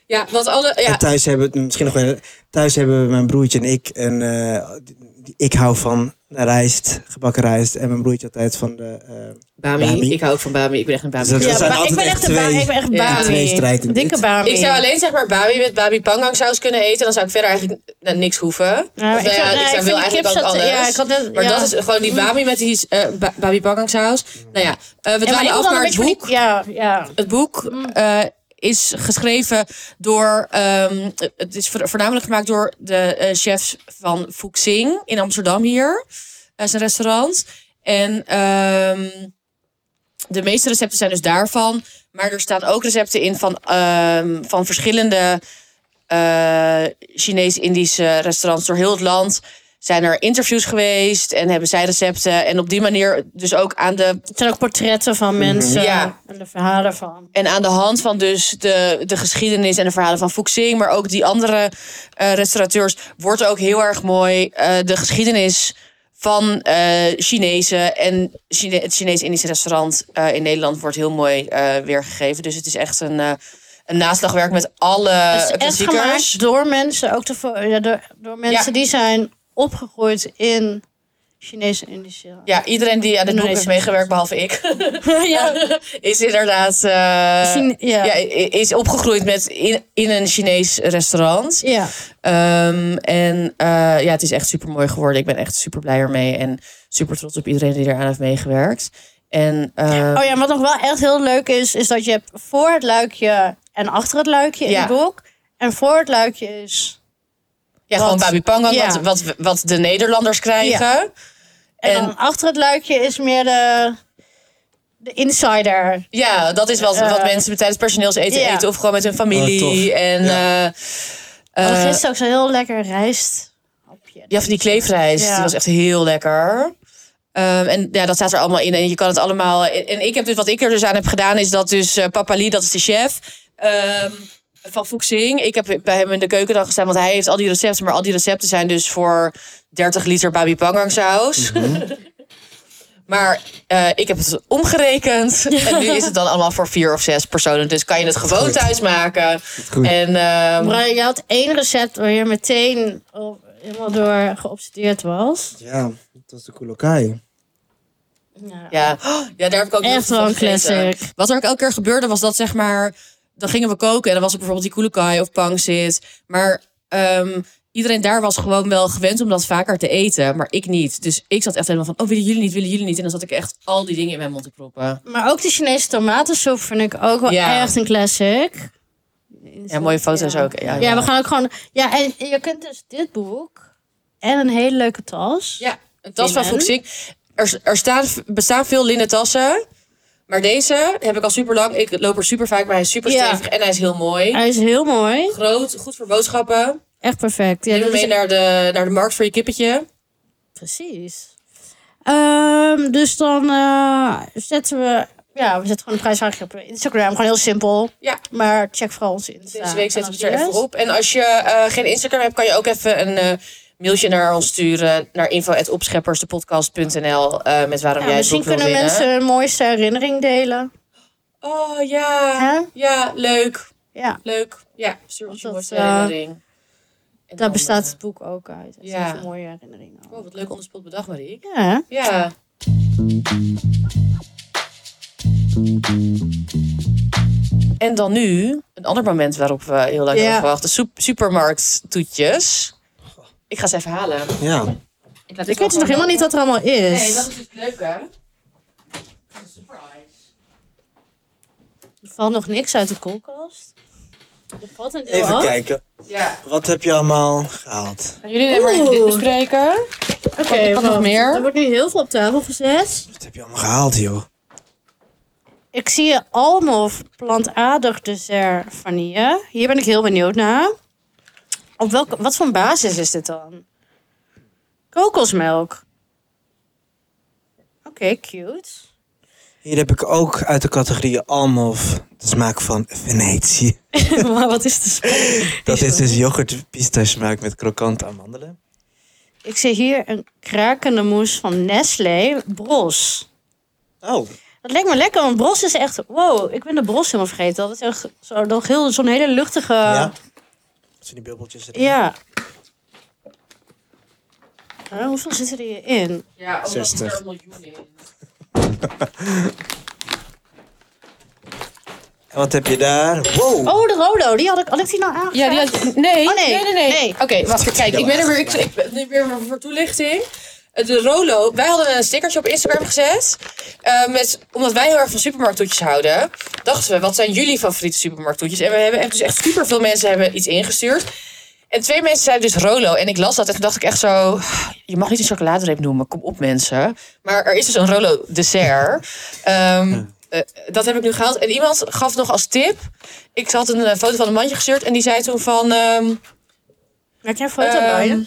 Ja, want alle... Ja,
En thuis hebben we misschien nog wel. Thuis hebben mijn broertje en ik en eh, die- die- ik hou van rijst, gebakken rijst en mijn broertje altijd van de eh,
Bami.
Bami.
Ik hou ook van Bami. Ik ben echt een Bami.
Dus dat
Ja,
zijn
maar ik
altijd
ben
echt
echt een ba-
twee-
ik ben echt
ja,
twee
Bami.
strijden.
Dikke
Dit-
Bami.
Ik zou alleen zeg maar Bami met Bami Pangang saus kunnen eten. Dan zou ik verder eigenlijk eh, niks hoeven.
Ja,
Of, nou ja,
zou- nee,
ik zou
vind
wil
die
eigenlijk ook
kipsat-
alles.
Ja, ik had net,
maar
ja.
dat is gewoon die Bami met die eh ba- Bami Pangang saus. Nou ja, eh we
Ja, maar
dwalen
ik
af
vond
naar
dat
het
een beetje
boek.
van die- Ja, ja.
Het boek eh, is geschreven door. ehm, het is vo- voornamelijk gemaakt door de eh, chefs van Fuxing in Amsterdam hier. Dat is een restaurant. En ehm, de meeste recepten zijn dus daarvan. Maar er staan ook recepten in van, ehm, van verschillende eh, Chinees-Indische restaurants door heel het land. Zijn er interviews geweest en hebben zij recepten. En op die manier dus ook aan de
Het zijn ook portretten van
Mhm.
mensen
Ja.
en de verhalen van.
En aan de hand van dus de, de geschiedenis en de verhalen van Fuxing, maar ook die andere eh, restaurateurs, wordt ook heel erg mooi eh, de geschiedenis van eh Chinezen en Chine- het Chinees-Indische restaurant eh, in Nederland wordt heel mooi eh, weergegeven. Dus het is echt een, eh, een naslagwerk met alle
het is echt
klassiekers.
gemaakt door mensen, ook de vo- ja, door, door mensen
Ja.
die zijn opgegroeid in Chinese Indische.
Ja, iedereen die aan dit boek heeft
Indonesisch.
meegewerkt, behalve ik,
ja.
is inderdaad eh,
Chine- ja.
ja, i- is opgegroeid met in, in een Chinees restaurant.
ja.
Ehm, en eh, ja, het is echt super mooi geworden. Ik ben echt super blij ermee. En super trots op iedereen die eraan heeft meegewerkt. En eh,
Oh ja, wat nog wel echt heel leuk is, is dat je hebt voor het luikje en achter het luikje in
Ja.
het boek. En voor het luikje is.
ja, gewoon
wat-
Babi Pangang,
ja.
wat, wat, wat de Nederlanders krijgen. Ja,
En,
En-
dan achter het luikje is meer de, de insider.
dat is wat, wat
Eh,
mensen tijdens personeelseten
ja.
eten. Of gewoon met hun
Oh,
familie.
tof.
en
Ja.
eh,
Uh,
eh,
gisteren ook zo'n heel lekker rijst.
ja, van die kleefrijst.
Ja.
Die was echt heel lekker. Ehm, en ja, dat staat er allemaal in. En je kan het allemaal. En, en ik heb dus wat ik er dus aan heb gedaan, is dat dus eh Papa Lee, dat is de chef. ehm, van Fuxing. Ik heb bij hem in de keuken dan gestaan, want hij heeft al die recepten. Maar al die recepten zijn dus voor 30 liter babi pangang saus.
Mhm.
maar eh, ik heb het omgerekend. en nu is het dan allemaal voor vier of zes personen. Dus kan je het gewoon
Goed.
thuis maken.
goed.
En ehm,
Brian, je had één recept waar je meteen op- helemaal door geobsedeerd was.
ja, dat was de kolokai.
Ja. Oh, ja, daar heb ik ook heel
Echt
veel
wel
van
een
gegeten.
classic.
Wat er ook elke keer gebeurde was dat zeg maar... Dan gingen we koken en dan was er bijvoorbeeld die koelekai of pangsit. Maar ehm, iedereen daar was gewoon wel gewend om dat vaker te eten. Maar ik niet. Dus ik zat echt helemaal van... Oh, willen jullie niet, willen jullie niet? En dan zat ik echt al die dingen in mijn mond te proppen.
Maar ook de Chinese tomatensoep vind ik ook wel
Ja.
echt een classic. in
Ja, mooie foto's
ja.
ook. Ja,
Ja, we gaan ook gewoon... Ja, en je kunt dus dit boek en een hele leuke tas.
Ja, een tas van
Linnen.
Fuxing. Er, er staan, bestaan veel linnen tassen. Maar deze heb ik al super lang. Ik loop er super vaak, maar hij is super
Ja.
stevig en hij is heel mooi.
Hij is heel mooi.
Groot, goed voor boodschappen.
Echt perfect. Ja,
Neem hem
dat is
mee naar de, naar de markt voor je kippetje.
Precies. Ehm, dus dan eh, zetten we... Ja, we zetten gewoon een prijsvraagje op Instagram. Gewoon heel simpel.
Ja.
Maar check vooral onze Insta.
Deze week zetten we het
En
er
dan
even
de rest.
op. En als je eh, geen Instagram hebt, kan je ook even een eh, mailtje naar ons sturen. Naar info.opscheppersdepodcast.nl eh met waarom
Ja,
jij het
misschien
boek wil
kunnen
winnen.
mensen hun mooiste herinnering delen.
Oh ja,
Hè?
ja, leuk,
Ja,
leuk. Ja, stuur ons
Want
je
dat,
mooiste
eh,
herinnering. En
daar
dan,
bestaat
eh,
het boek ook uit. Dat
ja.
ja. mooie herinneringen.
Oh, wat leuk onderspot bedacht, Marie.
Ja, hè?
Ja. En dan nu, een ander moment waarop we heel lang
Ja.
hebben gewacht. De soep- supermarkttoetjes. Ik ga ze even halen.
Ja.
Ik, laat
Ik weet dus nog helemaal niet wat er allemaal is.
Nee, dat is dus het leuke. Surprise.
Er valt nog niks uit de koelkast. Er valt een deel
Even
af.
kijken.
Ja.
Wat heb je allemaal gehaald?
Gaan jullie even even dit
Oeh.
bespreken?
Oké,
Wat- wat nog
wacht.
meer?
Er wordt nu heel veel op tafel gezet.
Wat heb je allemaal gehaald, joh?
Ik zie allemaal plantaardig dessert vanille. Hier ben ik heel benieuwd naar. Op welke, wat voor basis is dit dan? Kokosmelk. Oké, cute.
Hier heb ik ook uit de categorie Almof de smaak van Venetië.
maar wat is de smaak?
Dat is dus yoghurt pistache smaak met krokante amandelen.
Ik zie hier een krakende mousse van Nestlé. Bros.
Oh,
Dat lijkt me lekker, want bros is echt... Wow, ik ben de bros helemaal vergeten. Dat is echt zo- nog heel- zo'n hele luchtige...
ja. Zijn die bubbeltjes erin?
Ja. Eh, hoeveel zitten er hierin?
Ja,
omdat het er 60.
miljoen in.
En wat heb je daar? Wow!
Oh, de Rolo, die had ik, had ik die nou aangevraagd?
Ja, die had, nee,
Oh, nee.
nee, nee, nee.
Nee.
Oké, wacht, kijk, ik ben er weer, ik, ik ben er weer voor toelichting. Eh, De Rolo, wij hadden een stickertje op Instagram gezet. eh, met, omdat wij heel erg van supermarkttoetjes houden, dachten we, wat zijn jullie favoriete supermarkttoetjes? En we hebben echt, dus echt super veel mensen hebben iets ingestuurd. En twee mensen zeiden dus Rolo. En ik las dat en toen dacht ik echt zo... Je mag niet een chocoladereep noemen, kom op mensen. Maar er is dus een Rolo dessert. Ehm, eh, dat heb ik nu gehaald. En iemand gaf nog als tip... Ik had een eh, foto van een mandje gestuurd en die zei toen van... ehm,
Maak jij een foto
Ehm,
bij je?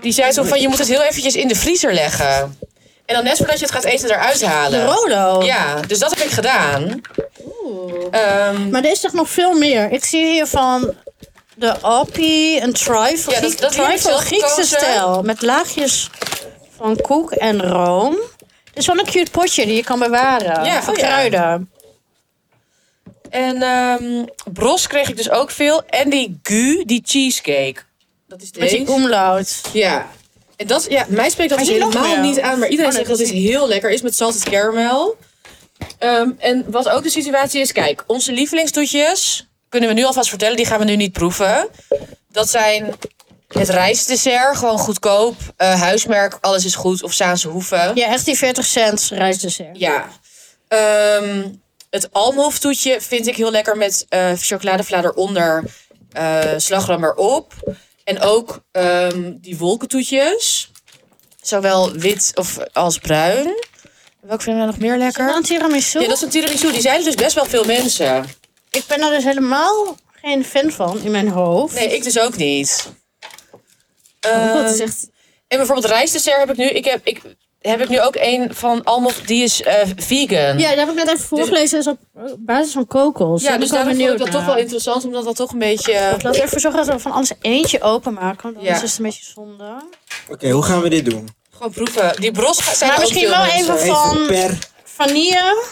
die zei toen van, je moet het heel eventjes in de vriezer leggen. En dan net voordat je het gaat eten eruit
De
halen.
Rolo.
Ja, dus dat heb ik gedaan. Ehm,
Maar er is toch nog veel meer. Ik zie hier van de Appie, een trifle,
Ja, dat-
Griek-
dat heb ik
trifle
zelf
Griekse
gekozen.
stijl. Met laagjes van koek en room. Dit is wel een cute potje die je kan bewaren.
Ja,
van
oh ja.
kruiden.
en ehm, bros kreeg ik dus ook veel. En die gu, die cheesecake. Dat is
Met die
deze.
omlaut.
Ja. En dat, ja, mij spreekt dat
Maar
dus
hier nog
helemaal
wel.
niet aan. Maar iedereen
Oh, nee,
zegt dat het heel lekker is met salted caramel. Ehm, en wat ook de situatie is, kijk, onze lievelingstoetjes kunnen we nu alvast vertellen. Die gaan we nu niet proeven. Dat zijn het rijstdessert, gewoon goedkoop. eh, huismerk, alles is goed. Of Saanse hoeven. Ja.
Ja, echt die 40 cent reisdessert.
Ehm, het almhoftoetje vind ik heel lekker met eh chocoladevlader onder, eh, slagroom erop. En ook ehm, die wolkentoetjes. Zowel wit of als bruin. Welke vinden we nog meer lekker?
Dan tiramisu.
Ja, dat is een tiramisu. Die zeiden dus best wel veel mensen.
Ik ben daar dus helemaal geen fan van in mijn hoofd.
Nee, ik dus ook niet.
Oh,
Ehm,
dat is echt...
en bijvoorbeeld rijstdessert heb ik nu. Ik heb, ik, heb ik nu ook een van Almof. Die is eh, vegan.
Ja, daar heb ik net even voorgelezen. is op basis van kokos.
Ja,
Daar
dus
ben
daarom vond
benieuwd
ik dat
naar.
toch wel interessant. Omdat dat toch een beetje... eh,
Ik laat even zorgen dat we van alles eentje openmaken. Want anders
Ja.
is het een beetje zonde.
Oké, hoe gaan we dit doen?
Gewoon proeven. Die bros zijn
Maar
ook
misschien
veel
wel
mensen.
even- Van-
Even per...
Vanille.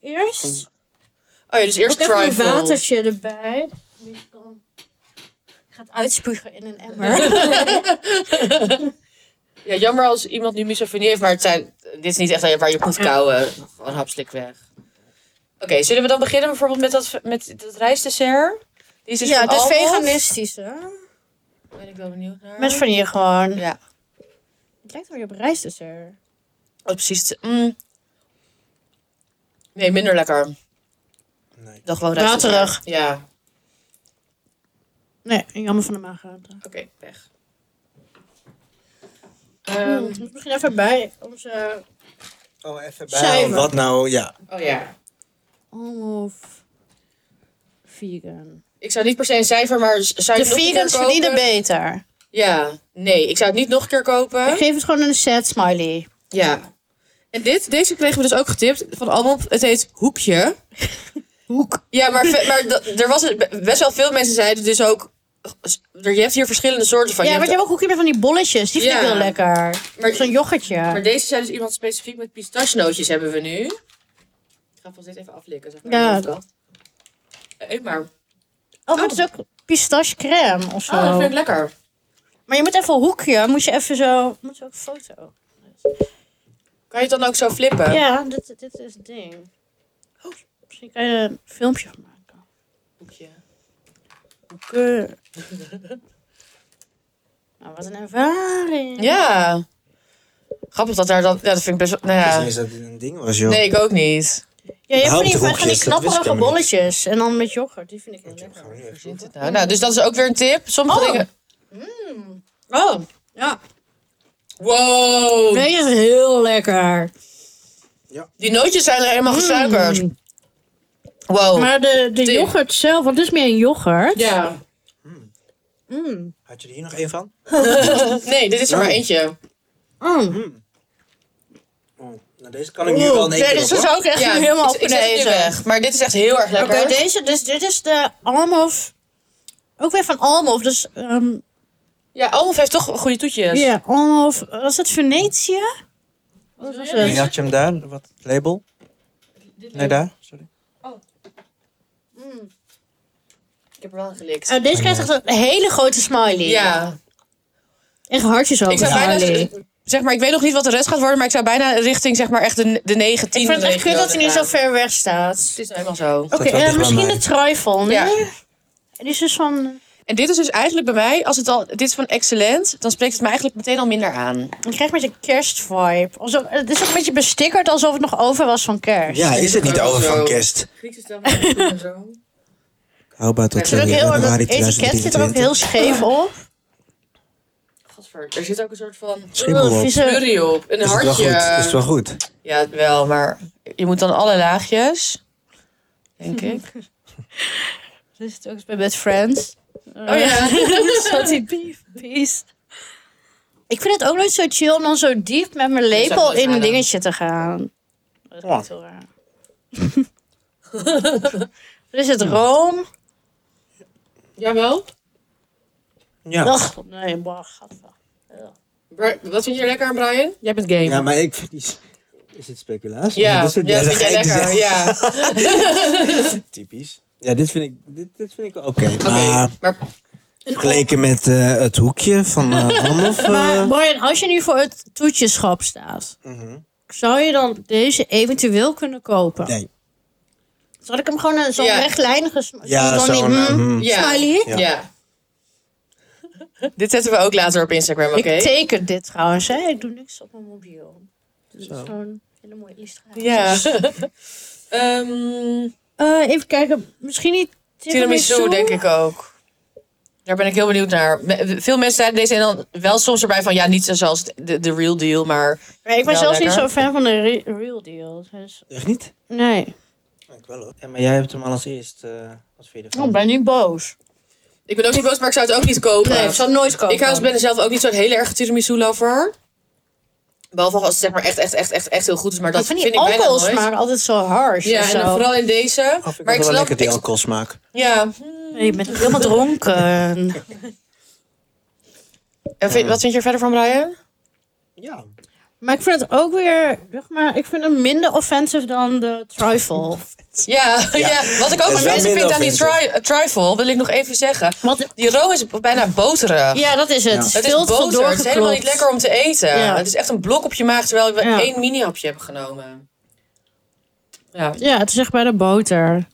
Eerst.
Oh ja, dus eerst
Ook even een
trifle.
watertje erbij. Ik kan- ik ga het uitspugen in een emmer.
Ja, jammer als iemand nu misofonie heeft, maar het zijn, dit is niet echt waar je op moet kouwen. Gewoon hapslik weg. Oké, zullen we dan beginnen bijvoorbeeld met dat, met dat rijstdessert? Die is dus
ja,
van
het is
Almos.
veganistisch hè.
Ben ik wel benieuwd naar.
Met vanille gewoon.
Ja,
Het lijkt wel weer op rijstdessert.
oh, precies. het- mm. Nee, minder lekker
Nee.
dan gewoon
Waterig.
rijstdessert. Ja.
Nee, jammer van de maag gehaald.
Oké, pech.
Ehm,
Ehm,
we beginnen even bij onze
Oh, even
bij. Cijfer.
Wat nou, ja.
oh ja.
homo of vegan.
Ik zou niet per se een cijfer, maar z- zou je
De
het nog een keer
vegans
kopen?
verdienen beter.
Ja, nee, ik zou het niet nog een keer
Ik
kopen.
geef het gewoon een sad smiley.
Ja. En dit, deze kregen we dus ook getipt van Almop. Het heet Hoekje.
Hoek.
Ja, maar, ve- maar dat- er was het- be- best wel veel mensen zeiden dus ook... er- Je hebt hier verschillende soorten van. Je
Ja, want
hebt-
je hebt ook hoekje met van die bolletjes. Die vind ik
Ja.
heel lekker.
maar,
Zo'n yoghurtje.
maar deze zijn dus iemand specifiek met pistachenootjes hebben we nu. Ik ga vast dit even aflikken. Zeg maar,
Ja.
in de hoofdkant. Eh, Eet maar.
Oh, maar het is ook pistachecrème of zo.
Oh, dat vind ik lekker.
Maar je moet even hoekje. Moet je even zo... Moet je ook een foto.
Kan je het dan ook zo flippen?
Ja, dit, dit is het ding. Oh, misschien kan je er een filmpje van maken.
Hoekje.
Hoeken. nou, wat een ervaring.
Ja. Grappig dat daar dan... Ja, dat vind ik best wel... Nou
Ik wist
ja.
niet eens dat dit een ding was, joh.
Nee, ik ook niet.
Ja, je hebt van
Überhaupt
die, van die
hoekjes, dat wist ik
knapperige
helemaal niet.
bolletjes. En dan met yoghurt. Die vind ik heel
Gaan
lekker.
we nu even proeven?
Nou, nou, dus dat is ook weer een tip. Sommige
Oh.
dingen...
Oh, ja.
Wow.
Deze is heel lekker.
Die nootjes zijn er helemaal gesuikerd.
Mm.
Wow.
Maar de, de
Oh. Tim.
yoghurt zelf, want het is meer een yoghurt.
ja.
Mm.
Had je er hier nog één van?
Nee, dit is er maar
Nou.
eentje.
Mm.
Oh, nou, deze kan ik nu wel in één
Nee,
keer
dit
op,
is
hoor.
ook echt
Ja, dus
helemaal
ik, ik zet het nu
opgenezen.
weg. Maar dit is echt heel erg
Oké,
lekker.
deze, dus dit is de Almof. Ook weer van Almof, dus... ehm
Ja, Almof heeft toch goede toetjes.
Ja, Almof, was het Venetië? Wat was
wil je?
het?
had je hem daar? Wat label? Nee, daar. Sorry.
Mm.
Ik heb er wel aan gelikt.
Oh, deze krijgt echt een hele grote smiley.
ja.
Echt hartjes over
Ik zou
smiley.
bijna... Zeg maar, ik weet nog niet wat de rest gaat worden, maar ik zou bijna richting zeg maar echt de, de 19
Ik vind het echt kut dat hij nu zo ver weg staat.
Het is helemaal zo.
Oké,
wel
eh,
dicht bij
misschien
mij.
de trifle, nee?
Ja.
Die is dus van...
En dit is dus eigenlijk bij mij, als het al, dit is van excellent, dan spreekt het me eigenlijk meteen al minder aan.
Ik krijg een beetje kerstvibe. Alsof, het is ook een beetje bestickerd alsof het nog over was van kerst.
Ja, is het niet over van kerst?
Grieks is dan wel zo.
How about that?
Het
Het is ook heel, dat
januari
etiket zit er ook
2023.
heel scheef op.
Gadver, er zit ook een soort van
Schimmel op. Is
Vieze-
curry op, een
het wel goed?
hartje.
Is het wel goed?
Ja, wel, maar je moet dan alle laagjes, denk ik.
Dus het ook eens bij Best Friends. Eh.
Oh ja.
Salty beef, peace. Ik vind het ook nooit zo chill om dan zo diep met mijn
is echt
lepel
nooit
in een
raar, hè?
dingetje te gaan. Dat is
Ja.
niet zo raar. Er is het room.
Jawel.
Ja.
Ach, nee, bah, gadver.
Bra- Wat vind je er lekker aan, Brian? Jij bent game.
Ja, maar ik vind die... Is het speculatie?
Ja,
dit soort
ja,
dingen
vind jij
ga ik dus
lekker.
echt
Ja.
Typisch. Ja, dit vind ik, dit, dit vind ik wel oké.
Oké,
Maar
maar
vergeleken met eh, het hoekje van eh Hannof... eh,
Maar Brian, als je nu voor het toetjeschap staat,
mhm.
zou je dan deze eventueel kunnen kopen?
Nee.
Zal ik hem gewoon een- zo'n
Ja.
rechtlijnige... sm-
Ja,
van die,
zo'n...
mm,
eh, mm.
ja.
smiley?
Ja. Dit zetten we ook later op Instagram, oké?
Ik teken dit trouwens, hè. Ik doe niks op mijn mobiel. Dit is
Zo.
zo'n hele mooie illustratie.
Ja. Ehm
Eh, even kijken, misschien niet
tiramisu denk ik ook. Daar ben ik heel benieuwd naar. Me- Veel mensen zeiden deze en dan wel soms erbij van... ja, niet zoals de, de real deal, maar...
Maar ik ben
Wel
zelfs niet
lekker.
zo'n fan van de re- real deal. Dus
Echt niet?
nee,
Ik wel hoor. maar jij hebt hem al als eerst... eh, wat vind je
ik ben niet boos.
Ik ben ook niet boos, maar ik zou het ook niet kopen.
Nee, ik zou het nooit kopen.
Ik hou- ben zelf ook niet zo'n heel erg tiramisu-lover. Behalve als het zeg maar echt, echt, echt, echt, echt heel goed is. Maar dat
van
vind
die
ik bijna
alcohol
nooit.
smaken altijd zo harsh
Ja,
of
en
zo.
dan vooral in deze.
maar
Maar ik
wel
snap...
lekker die
Ik,
alcoholsmaak.
ja.
Je bent helemaal dronken.
En vind- wat vind je er verder van, Brian?
Ja.
maar ik vind het ook weer, zeg maar, ik vind het minder offensive dan de trifle.
Ja, ja.
Ja.
wat ik ook
Het is wel
amazing vind
minder
aan die tri
offensive.
eh, trifle, wil ik nog even zeggen.
Want,
Die room is bijna boterig.
ja, dat is het.
Ja.
Het is
het is
veel te veel
boter, het is helemaal niet
doorgeklopt.
lekker om te eten.
Ja.
Het is echt een blok op je maag, terwijl we
Ja.
één mini-hapje hebben genomen. Ja.
Ja, het is echt bij de boter.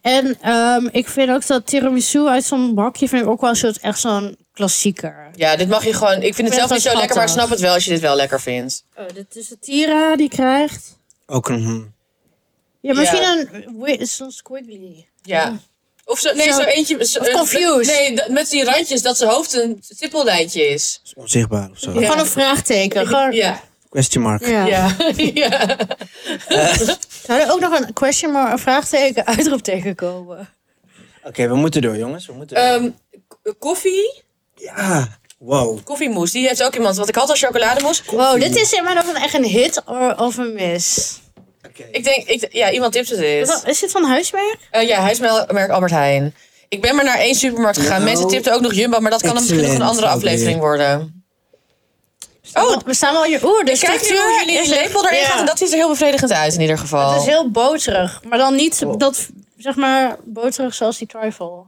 En ehm, ik vind ook dat tiramisu uit zo'n bakje vind ik ook wel een soort echt zo'n klassieker.
ja, dit mag je gewoon... Ik vind het
het
zelf
wel
niet zo lekker, maar ik
schattig.
snap het wel als je dit wel lekker vindt.
Oh, dit is de Tira die krijgt.
Ook een... hm.
Ja,
Ja.
misschien een wi- zo'n squiggly.
Ja. Of zo, nee,
Zo-
zo, eentje. zo- eh,
of confused.
Nee, dat- met die randjes dat zijn hoofd een tippellijntje is.
is onzichtbaar of zo.
Ja.
Gewoon een vraagteken. Gewoon,
Ja.
Question mark.
ja.
Ja. ja.
Zou er ook nog een question mark, een vraagteken, uitroepteken komen?
Oké, we moeten door, jongens. We moeten door.
Ehm, k- koffie.
ja, wow.
Koffiemousse. Die heeft ook iemand. Want ik had al chocolademousse.
Wow, Oh, dit is in mijn ogen echt een hit or- of een miss.
Oké.
Ik denk, ik, ja, iemand tipt het
Is,
eens.
dat- is dit van huismerk?
Eh, ja, huismerk Albert Heijn. Ik ben maar naar één supermarkt gegaan.
Nou,
Mensen tipten ook nog Jumbo, maar dat kan dan misschien nog een
excellent,
andere
alweer.
aflevering worden. Oh,
we staan wel hier. Oeh, de
kijk nu hoe
structuur
jullie
dus is
die lepel erin
ja.
gaat. En dat ziet er heel bevredigend uit in ieder geval.
Het is heel boterig. Maar dan niet
Wow.
dat, zeg maar, boterig zoals die trifle.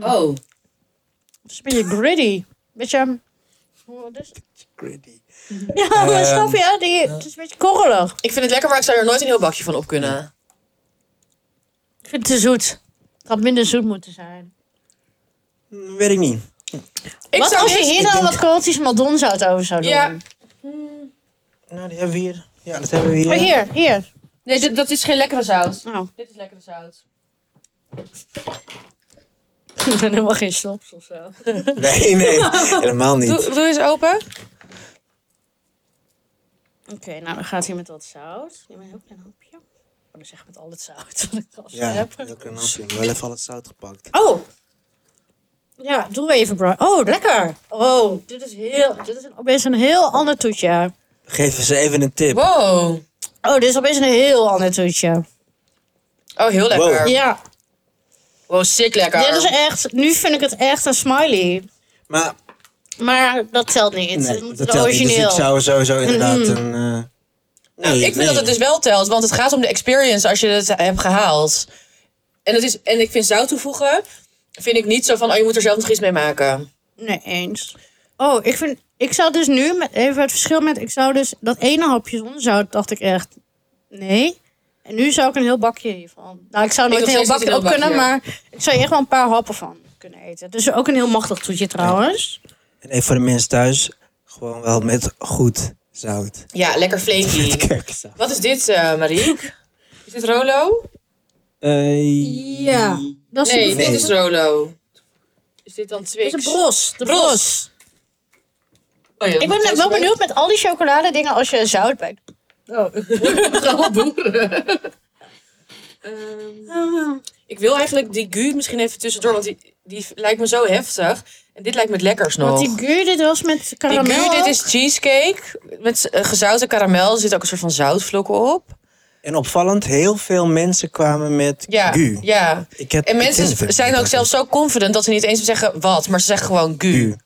Oh.
Het is een beetje gritty. Beetje... Wat is het?
Gritty.
Ja, maar
Ehm,
snap je? Die, het is een beetje korrelig.
Ik vind het lekker, maar ik zou er nooit een heel bakje van op kunnen.
Ik vind het te zoet. Het had minder zoet moeten zijn.
Hm, Weet ik niet.
Ik
wat
zou
als je
niet-
hier dan wat Kroatisch maldonzout over zou doen?
Ja.
Nou, die hebben we hier. Ja, dat hebben we
Oh,
hier.
Maar hier, hier.
Nee, dit- dat is geen lekkere zout.
Nou,
Dit is lekkere zout.
ik ben helemaal geen slops of zo.
Nee, nee, helemaal niet.
Doe, doe eens open.
Oké, nou dan gaat hij met wat zout. Neem een heel klein hapje. Oh, dan zeg ik met al het zout wat ik al
Ja,
heb.
dat kan afzien. Wel even al het zout gepakt.
Oh! Ja, doe even, bro. Oh, lekker! Oh, dit is heel... Dit is een- opeens een heel ander toetje.
Geef ze even een tip.
Wow.
Oh, dit is opeens een heel ander toetje.
Oh, heel lekker. Wow,
Ja,
sick lekker.
dit is echt... Nu vind ik het echt een smiley.
Maar
Maar dat telt niet.
nee,
het moet
dat
het
telt niet.
origineel.
Dus ik zou sowieso inderdaad een... eh,
Nou, Mhm.
nee,
ik vind
nee.
dat het dus wel telt, want het gaat om de experience als je het hebt gehaald. En, dat is, en ik vind zout toevoegen, vind ik niet zo van, oh je moet er zelf nog iets mee maken.
Nee, eens. Oh, ik vind... Ik zou dus nu met, even het verschil met... Ik zou dus dat ene hapje zonder zout, dacht ik echt... Nee. En nu zou ik een heel bakje hiervan. Nou, ik zou nooit
nog
een heel
steeds
bakje
niet
op
een heel
kunnen,
bakje.
maar... Ik zou hier echt wel een paar happen van kunnen eten. Dus ook een heel machtig toetje trouwens.
En even voor de mensen thuis, gewoon wel met goed zout.
Ja, lekker flaky.
Kerkzout.
Wat is dit, eh Marie? Is dit Rolo?
Eh,
Ja. Dat is
Nee,
een,
dit is Rolo. Is dit dan Twix?
dit is een bros. De
Bros.
bros.
Oh ja,
Ik
dat
ben
is
wel
een
benieuwd met al die chocoladedingen als je zout bij...
beetje- Allemaal boeren. Ehm, ik wil eigenlijk die gu misschien even tussendoor, want die, die lijkt me zo heftig. En dit lijkt me het lekkers nog.
Want die guur, dit was met
Die
karamel.
gru, dit
ook.
is cheesecake met eh, gezouten karamel. Er zit ook een soort van zoutvlokken op.
En opvallend, heel veel mensen kwamen met
Ja,
gu.
ja.
Ik heb,
En
ik
mensen
ken het
zijn ook
niet.
zelfs zo confident dat ze niet eens zeggen wat, maar ze zeggen gewoon gu.
Gu.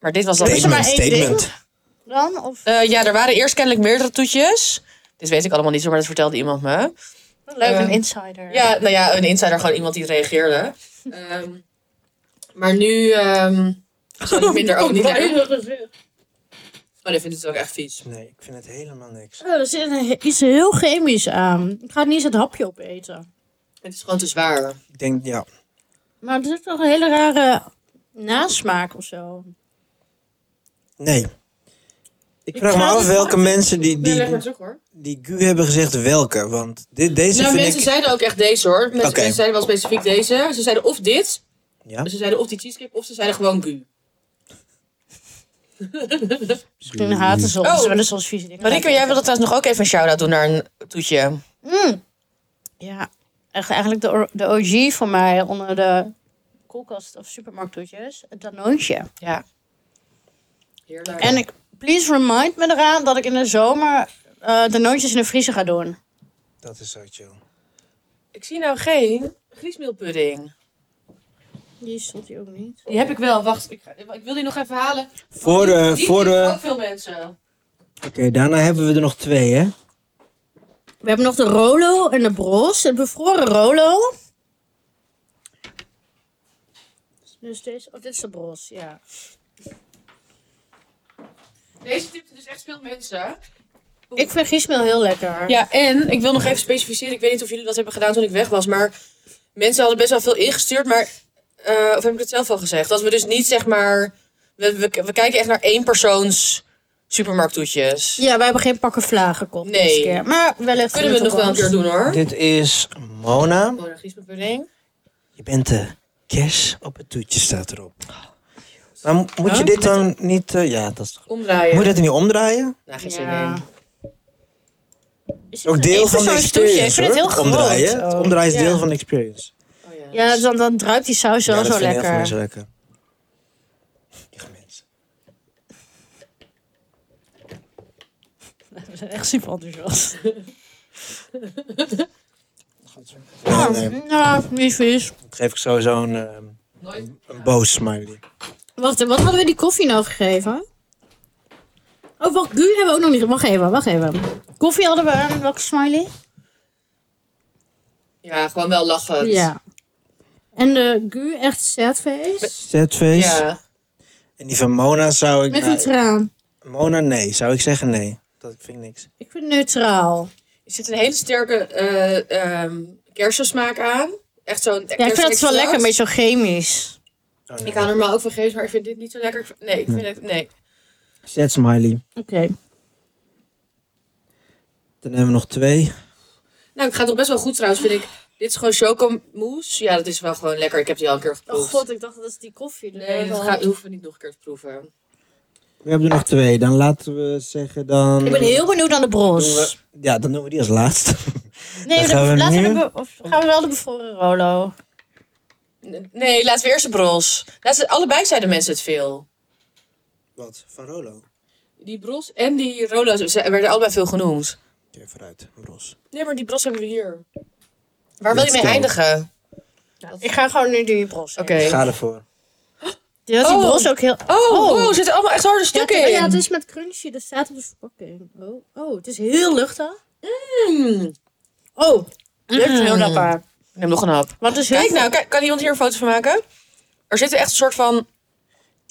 Maar dit was dan...
Is er maar
Statement,
één ding?
statement.
Dan? Of
Eh, ja, er waren eerst kennelijk meerdere toetjes. Dit weet ik allemaal niet zo, maar dat vertelde iemand me.
leuk,
eh,
een insider.
Ja, nou ja, een insider, gewoon iemand die reageerde. Ehm, maar nu... ehm zou die minder ook niet hebben. Oh, dit vindt het ook echt vies.
Nee, ik vind het helemaal niks.
Oh, er zit een he- iets heel chemisch aan. Ik ga niet eens het hapje opeten.
Het is gewoon te zwaar.
Ik denk, ja.
Maar er zit toch een hele rare nasmaak of zo.
Nee. Ik vraag me
ga
af
niet
welke mensen die,
Nee, leg
die,
maar terug hoor.
die gu hebben gezegd welke. Want dit, deze
Nou,
vind
mensen
ik...
zeiden ook echt deze hoor. Mensen,
Oké.
mensen zeiden wel specifiek deze. Ze zeiden of dit,
Ja?
ze zeiden of die cheesecake, of ze zeiden gewoon gu.
Misschien haten ze ons.
Oh.
Ze willen soms vieze dingen.
Marike, jij wilde trouwens nog ook even een shout-out doen naar een toetje.
Mm. Ja, echt eigenlijk de, or- de OG voor mij onder de koelkast of supermarkttoetjes. Het Danoontje.
Ja. Heerlijk.
En ik, please remind me eraan dat ik in de zomer eh Danoontjes in de vriezer ga doen.
Dat is zo chill.
Oh, ik zie nou geen griesmeelpudding.
Die stond hier ook niet.
Die heb ik wel, wacht. Ik, ga- ik wil die nog even halen.
Voor de...
Die
voor eh,
vinden
de
ook veel mensen.
Oké, daarna hebben we er nog twee, hè?
We hebben nog de Rolo en de Bros. Het bevroren Rolo. Dus deze, oh, dit is de Bros, ja.
Deze tipte dus echt veel mensen.
Ik vind Giesmeel heel lekker.
Ja, en ik wil nog even specificeren. Ik weet niet of jullie dat hebben gedaan toen ik weg was. Maar mensen hadden best wel veel ingestuurd. Maar, eh, of heb ik het zelf al gezegd? Dat we dus niet zeg maar. We, we, we kijken echt naar één persoons supermarkttoetjes.
Ja, wij hebben geen pakken vlagen kop
Nee.
deze keer. Maar wellicht.
Kunnen we het nog wel een keer doen hoor.
Dit is Mona.
Oh, de griesbepudding.
Je bent de kers op het toetje, staat erop. Maar mo- moet je dit dan niet... eh, ja, dat is toch...
Omdraaien.
Moet je dit niet omdraaien?
Nou, geen zin
Ja.
in.
Ook deel
één
van de
persoons toetje?
experience,
Ik vind het
hoor.
heel groot Oh.
omdraaien. Het
ook.
omdraaien is
Ja.
deel van de experience.
Oh, ja.
Ja, dus dan, dan druipt die saus wel
Ja, dat
zo
vind ik heel
lekker.
veel mensen lekker.
Ah.
Lieve mensen.
We zijn echt super enthousiast.
Ja,
Ja,
nee,
Mm-hmm.
ja, niet vies.
dat eh, geef ik sowieso een, ehm, een, een boos smiley.
Wacht, wat hadden we die koffie nou gegeven? Oh, wacht, Gu hebben we ook nog niet. ge- Wacht even, wacht even. Koffie hadden we aan welke smiley?
Ja, gewoon wel lachen.
Ja. En de Gu echt sad face.
Setface.
Ja.
En die van Mona zou ik...
Met
nou,
neutraal.
Mona, nee. Zou ik zeggen nee. Dat vind ik niks.
Ik vind neutraal.
Er zit een hele sterke eh ehm kersensmaak aan. Echt zo'n
Ja, ik vind dat wel
kersenextract.
lekker, een beetje zo chemisch.
Oh, nee.
Ik hou normaal ook van geest, maar ik vind dit niet zo lekker. Ik vind- Nee, ik vind het... Nee.
Zet smiley.
Oké.
Dan hebben we nog twee.
Nou, het gaat toch best wel goed trouwens, vind ik. Dit is gewoon chocomousse. Ja, dat is wel gewoon lekker. Ik heb die al een keer geproefd.
ik dacht Oh, dat is die koffie.
Nee, dat gaat, hoeven we niet nog een keer te proeven.
We hebben er nog twee. Dan laten we zeggen dan...
Ik ben heel benieuwd naar de
Doen we-
bros.
Ja, dan doen we die als laatste.
Nee,
Dan
we-
gaan we
laten
nu-
we de be- of gaan we wel de bevroren Rolo.
Nee, laten we eerst de bros. Laten we- allebei zeiden mensen het veel.
Wat? Van Rolo? Oké,
Die bros en die rolo's ze- werden allebei veel genoemd.
vooruit. Bros.
Nee, maar die bros hebben we hier. Waar wil je
Let's
mee
go.
eindigen?
Ik ga gewoon nu die bros.
Oké.
Ga ervoor.
Die was die
Oh.
bros ook heel...
Oh,
Oh.
wow, er zitten allemaal echt harde stukken
ja,
in.
Oh ja, het is met crunchy. Dat staat op de verpakking. Oh, oh het is heel luchtig.
Mm.
Oh, dit is heel
Mm.
lekker.
Ik neem nog een hap.
Wat is heel
Kijk nou, kijk, kan iemand hier een foto van maken? Er zitten echt een soort van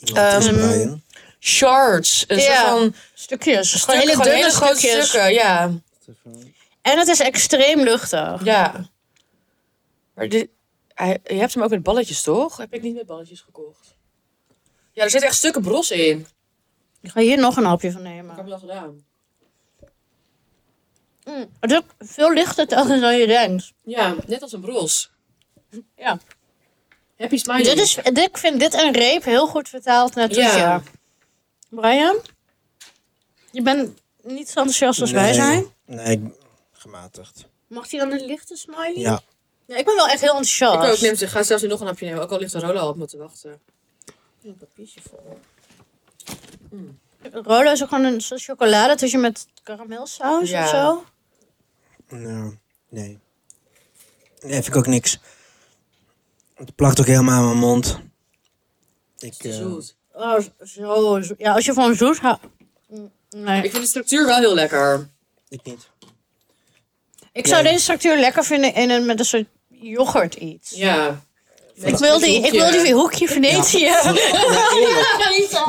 Iemand is
Ehm,
Brian.
shards. Een
Ja.
soort van
stukjes.
stukken,
Gewoon nou. hele
gewoon
dunne
hele grote
stukjes.
stukken. Ja,
En het is extreem luchtig.
ja. Maar dit, hij- je hebt hem ook met balletjes, toch? Heb ik niet met balletjes gekocht. Ja, er zitten echt stukken bros in. Ik
Ik ga hier nog een hapje van
heb hem
nemen.
al gedaan.
Mm. Het is ook veel lichter telkens dan je denkt.
Ja, net als een bros.
Ja.
Happy smiley.
Dit is, dit, ik vind dit een reep heel goed vertaald naar Toetje.
Ah, Ja.
Brian, je bent niet zo enthousiast als wij
Nee.
zijn.
Nee, ik- gematigd.
Mag die dan een lichte smiley?
Ja.
Nee, ik ben wel echt heel
Ik
enthousiast.
ook, neem ze. Ga zelfs nu nog een hapje nemen. Ook al ligt de Rola op moeten wachten.
een papiertje voor. Rolo Mm. is ook gewoon een soort chocolade tussen met karamelsaus
Ja.
of zo.
Nou, nee. Nee, vind ik ook niks. Het plakt ook helemaal aan mijn mond. Ik,
Het is
eh,
zoet.
Oh, zo. zo- Ja, als je van zoet houdt. Mm,
Ik
Nee.
vind de structuur wel heel lekker.
ik niet.
Ik zou
Nee.
deze structuur lekker vinden in een, met een soort yoghurt iets.
Ja.
Ik, wil die, ik wil die hoekje Venetië.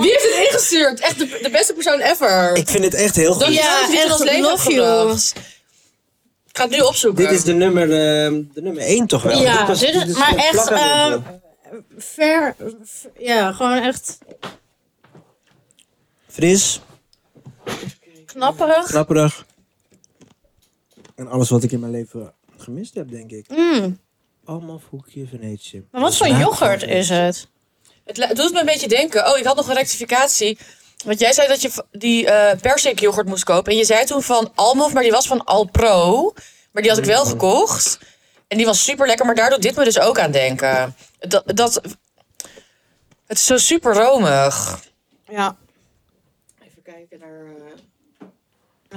Wie heeft het ingestuurd? Echt de, de beste persoon ever.
Ik vind dit echt heel goed.
Dank je wel dat je het
echt,
ons leven hebt
love you.
gebracht. Ik ga het nu opzoeken.
Dit is de nummer, ehm, de nummer 1 toch wel?
Ja,
Dit was-
dit is- maar
een
echt, ehm,
plakkertje.
Ver, ver- ja, gewoon echt
Fris,
knapperig.
knapperig. En alles wat ik in mijn leven gemist heb, denk ik.
Mm.
Allemaal hoekje Venetië.
Maar wat voor yoghurt is het?
Het, la- het doet me een beetje denken. Oh, ik had nog een rectificatie. Want jij zei dat je v- die eh persik yoghurt moest kopen. En je zei toen van Almov, maar die was van Alpro. Maar die had ik
Mhm.
wel gekocht. En die was super lekker. Maar daar doet dit me dus ook aan denken. Dat, dat, het is zo super romig.
Ja,
Even kijken naar... eh,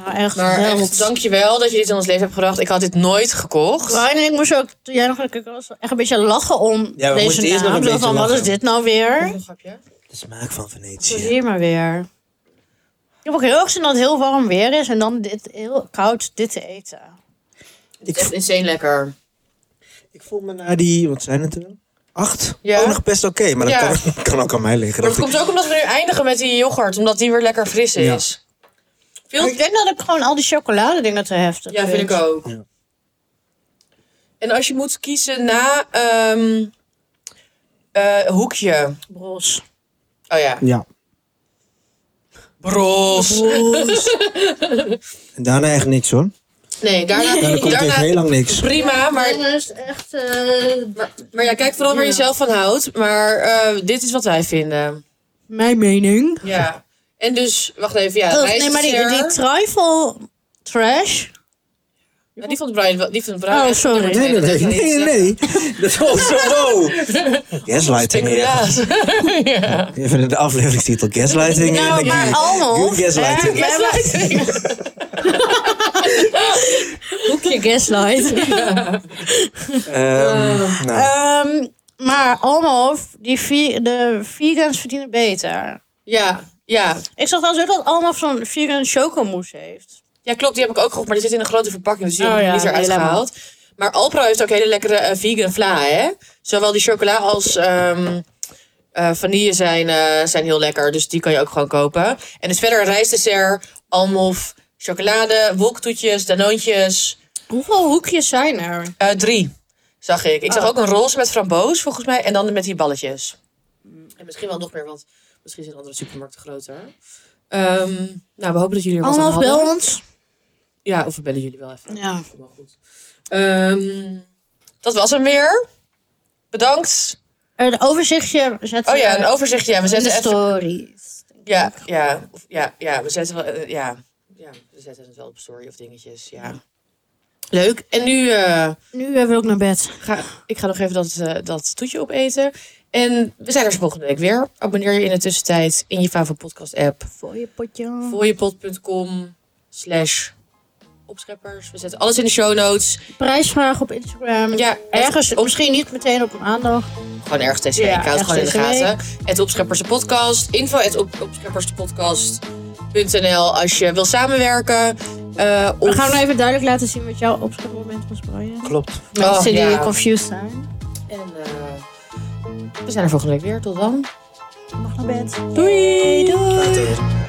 nou echt
Maar echt,
dank
dankjewel dat je dit in ons leven hebt gebracht. Ik had dit nooit gekocht.
Brian en ik moesten ook, toen jij nog ik was echt een beetje lachen om
Ja, we
deze
moesten eerst nog
naam.
een
Zo
beetje
van, wat
lachen.
is dit nou weer?
Nog een hapje?
De smaak van
Zo
Venetië.
zie je maar weer. Ik heb ook heel erg zin dat het heel warm weer is en dan dit heel koud dit te eten.
Het is echt insane lekker.
Ik voel me na die, wat zijn het er? Acht?
Ja.
Ook nog best oké, maar dat
Ja.
kan, kan ook aan mij liggen.
Maar
Dat
het komt ook omdat we nu eindigen met die yoghurt. Omdat die weer lekker fris
Ja.
is. Veel...
Ik denk dat ik gewoon al die chocoladedingen te heftig
Ja, vind ik ook.
Ja.
En als je moet kiezen na ehm, eh, hoekje.
Bros.
Oh ja.
Ja.
Bros.
En daarna echt niks hoor.
Nee, daarna,
Daarna komt
daarna
echt heel lang niks.
prima, maar,
Dan is het echt... eh,
maar, maar ja, kijk vooral waar je
Ja.
zelf van houdt. Maar eh, dit is wat wij vinden.
Mijn mening.
Ja. En dus, wacht even, ja,
Oh, nee, maar die, die
reisster-
trifle trash.
Ja, die vond Brian wel, die vond Brian
Oh,
echt
sorry.
nummer
Nee,
twee,
nee,
dat
nee.
kan je
nee,
niet
nee. Dat was zo, wow. Gaslighting. ja.
zeggen. Speculaas. ja.
Even de afleveringstitel Gaslighting.
Nou,
Ik-
maar allemaal.
Good gaslighting.
We hebben- Hoekje gaslight.
Ehm, nou,
Ehm, maar Almof, die vi- de vegans verdienen beter.
ja, ja.
Ik zag wel zo dat Almof zo'n vegan chocomousse heeft.
Ja, klopt, die heb ik ook gekocht, maar die zit in een grote verpakking, dus die
Oh
heb ik
ja,
niet eruit
nee, laat maar.
gehaald. Maar Alpro heeft ook hele lekkere eh, vegan vla, hè? Zowel die chocola als ehm, eh, vanille zijn, eh, zijn heel lekker, dus die kan je ook gewoon kopen. En dus verder een rijstdessert, almof, chocolade, wolktoetjes, danoontjes.
Hoeveel hoekjes zijn er?
Eh, drie, zag ik. Ik zag
Oh.
ook een roze met framboos, volgens mij, en dan met die balletjes. En misschien wel nog meer, want misschien zijn andere supermarkten groter. Ehm, nou, we hopen dat jullie er wat aan
Almof
hadden.
bel ons.
Ja, of we bellen jullie wel even.
Ja.
Kom wel goed. Ehm, dat was hem weer. Bedankt.
Een Eh, overzichtje zetten
Oh ja, een
we
overzichtje. Ja, we
in de
zetten even.
stories.
Ja, ja, of- ja, ja, we zetten wel. eh, ja, ja, we zetten het wel op story of dingetjes. Ja. Leuk. En nu eh,
Nu hebben we ook naar bed.
ga ik ga nog even dat, eh, dat toetje opeten. En we zijn er volgende week weer. Abonneer je in de tussentijd in je favoriete podcast app.
Voor je potje.
Fooiepot.com slash opscheppers. We zetten alles in de show notes.
Prijsvraag op Instagram.
Ja,
Ergens, misschien niet meteen op maandag.
Gewoon ergens deze
Ja,
week. Ik hou het gewoon in de
ergens deze
gaten. Het Opscheppers de Podcast. Info at op, opschepperspodcast.nl als je wil samenwerken. Eh
We
of-
gaan nou even duidelijk laten zien wat jouw opschrijfmoment was, Brian.
klopt.
Oh,
Mensen die
ja.
confused zijn.
En, eh, we zijn er volgende week weer. Tot dan.
Mag naar bed.
Doei!
Doei.
Later.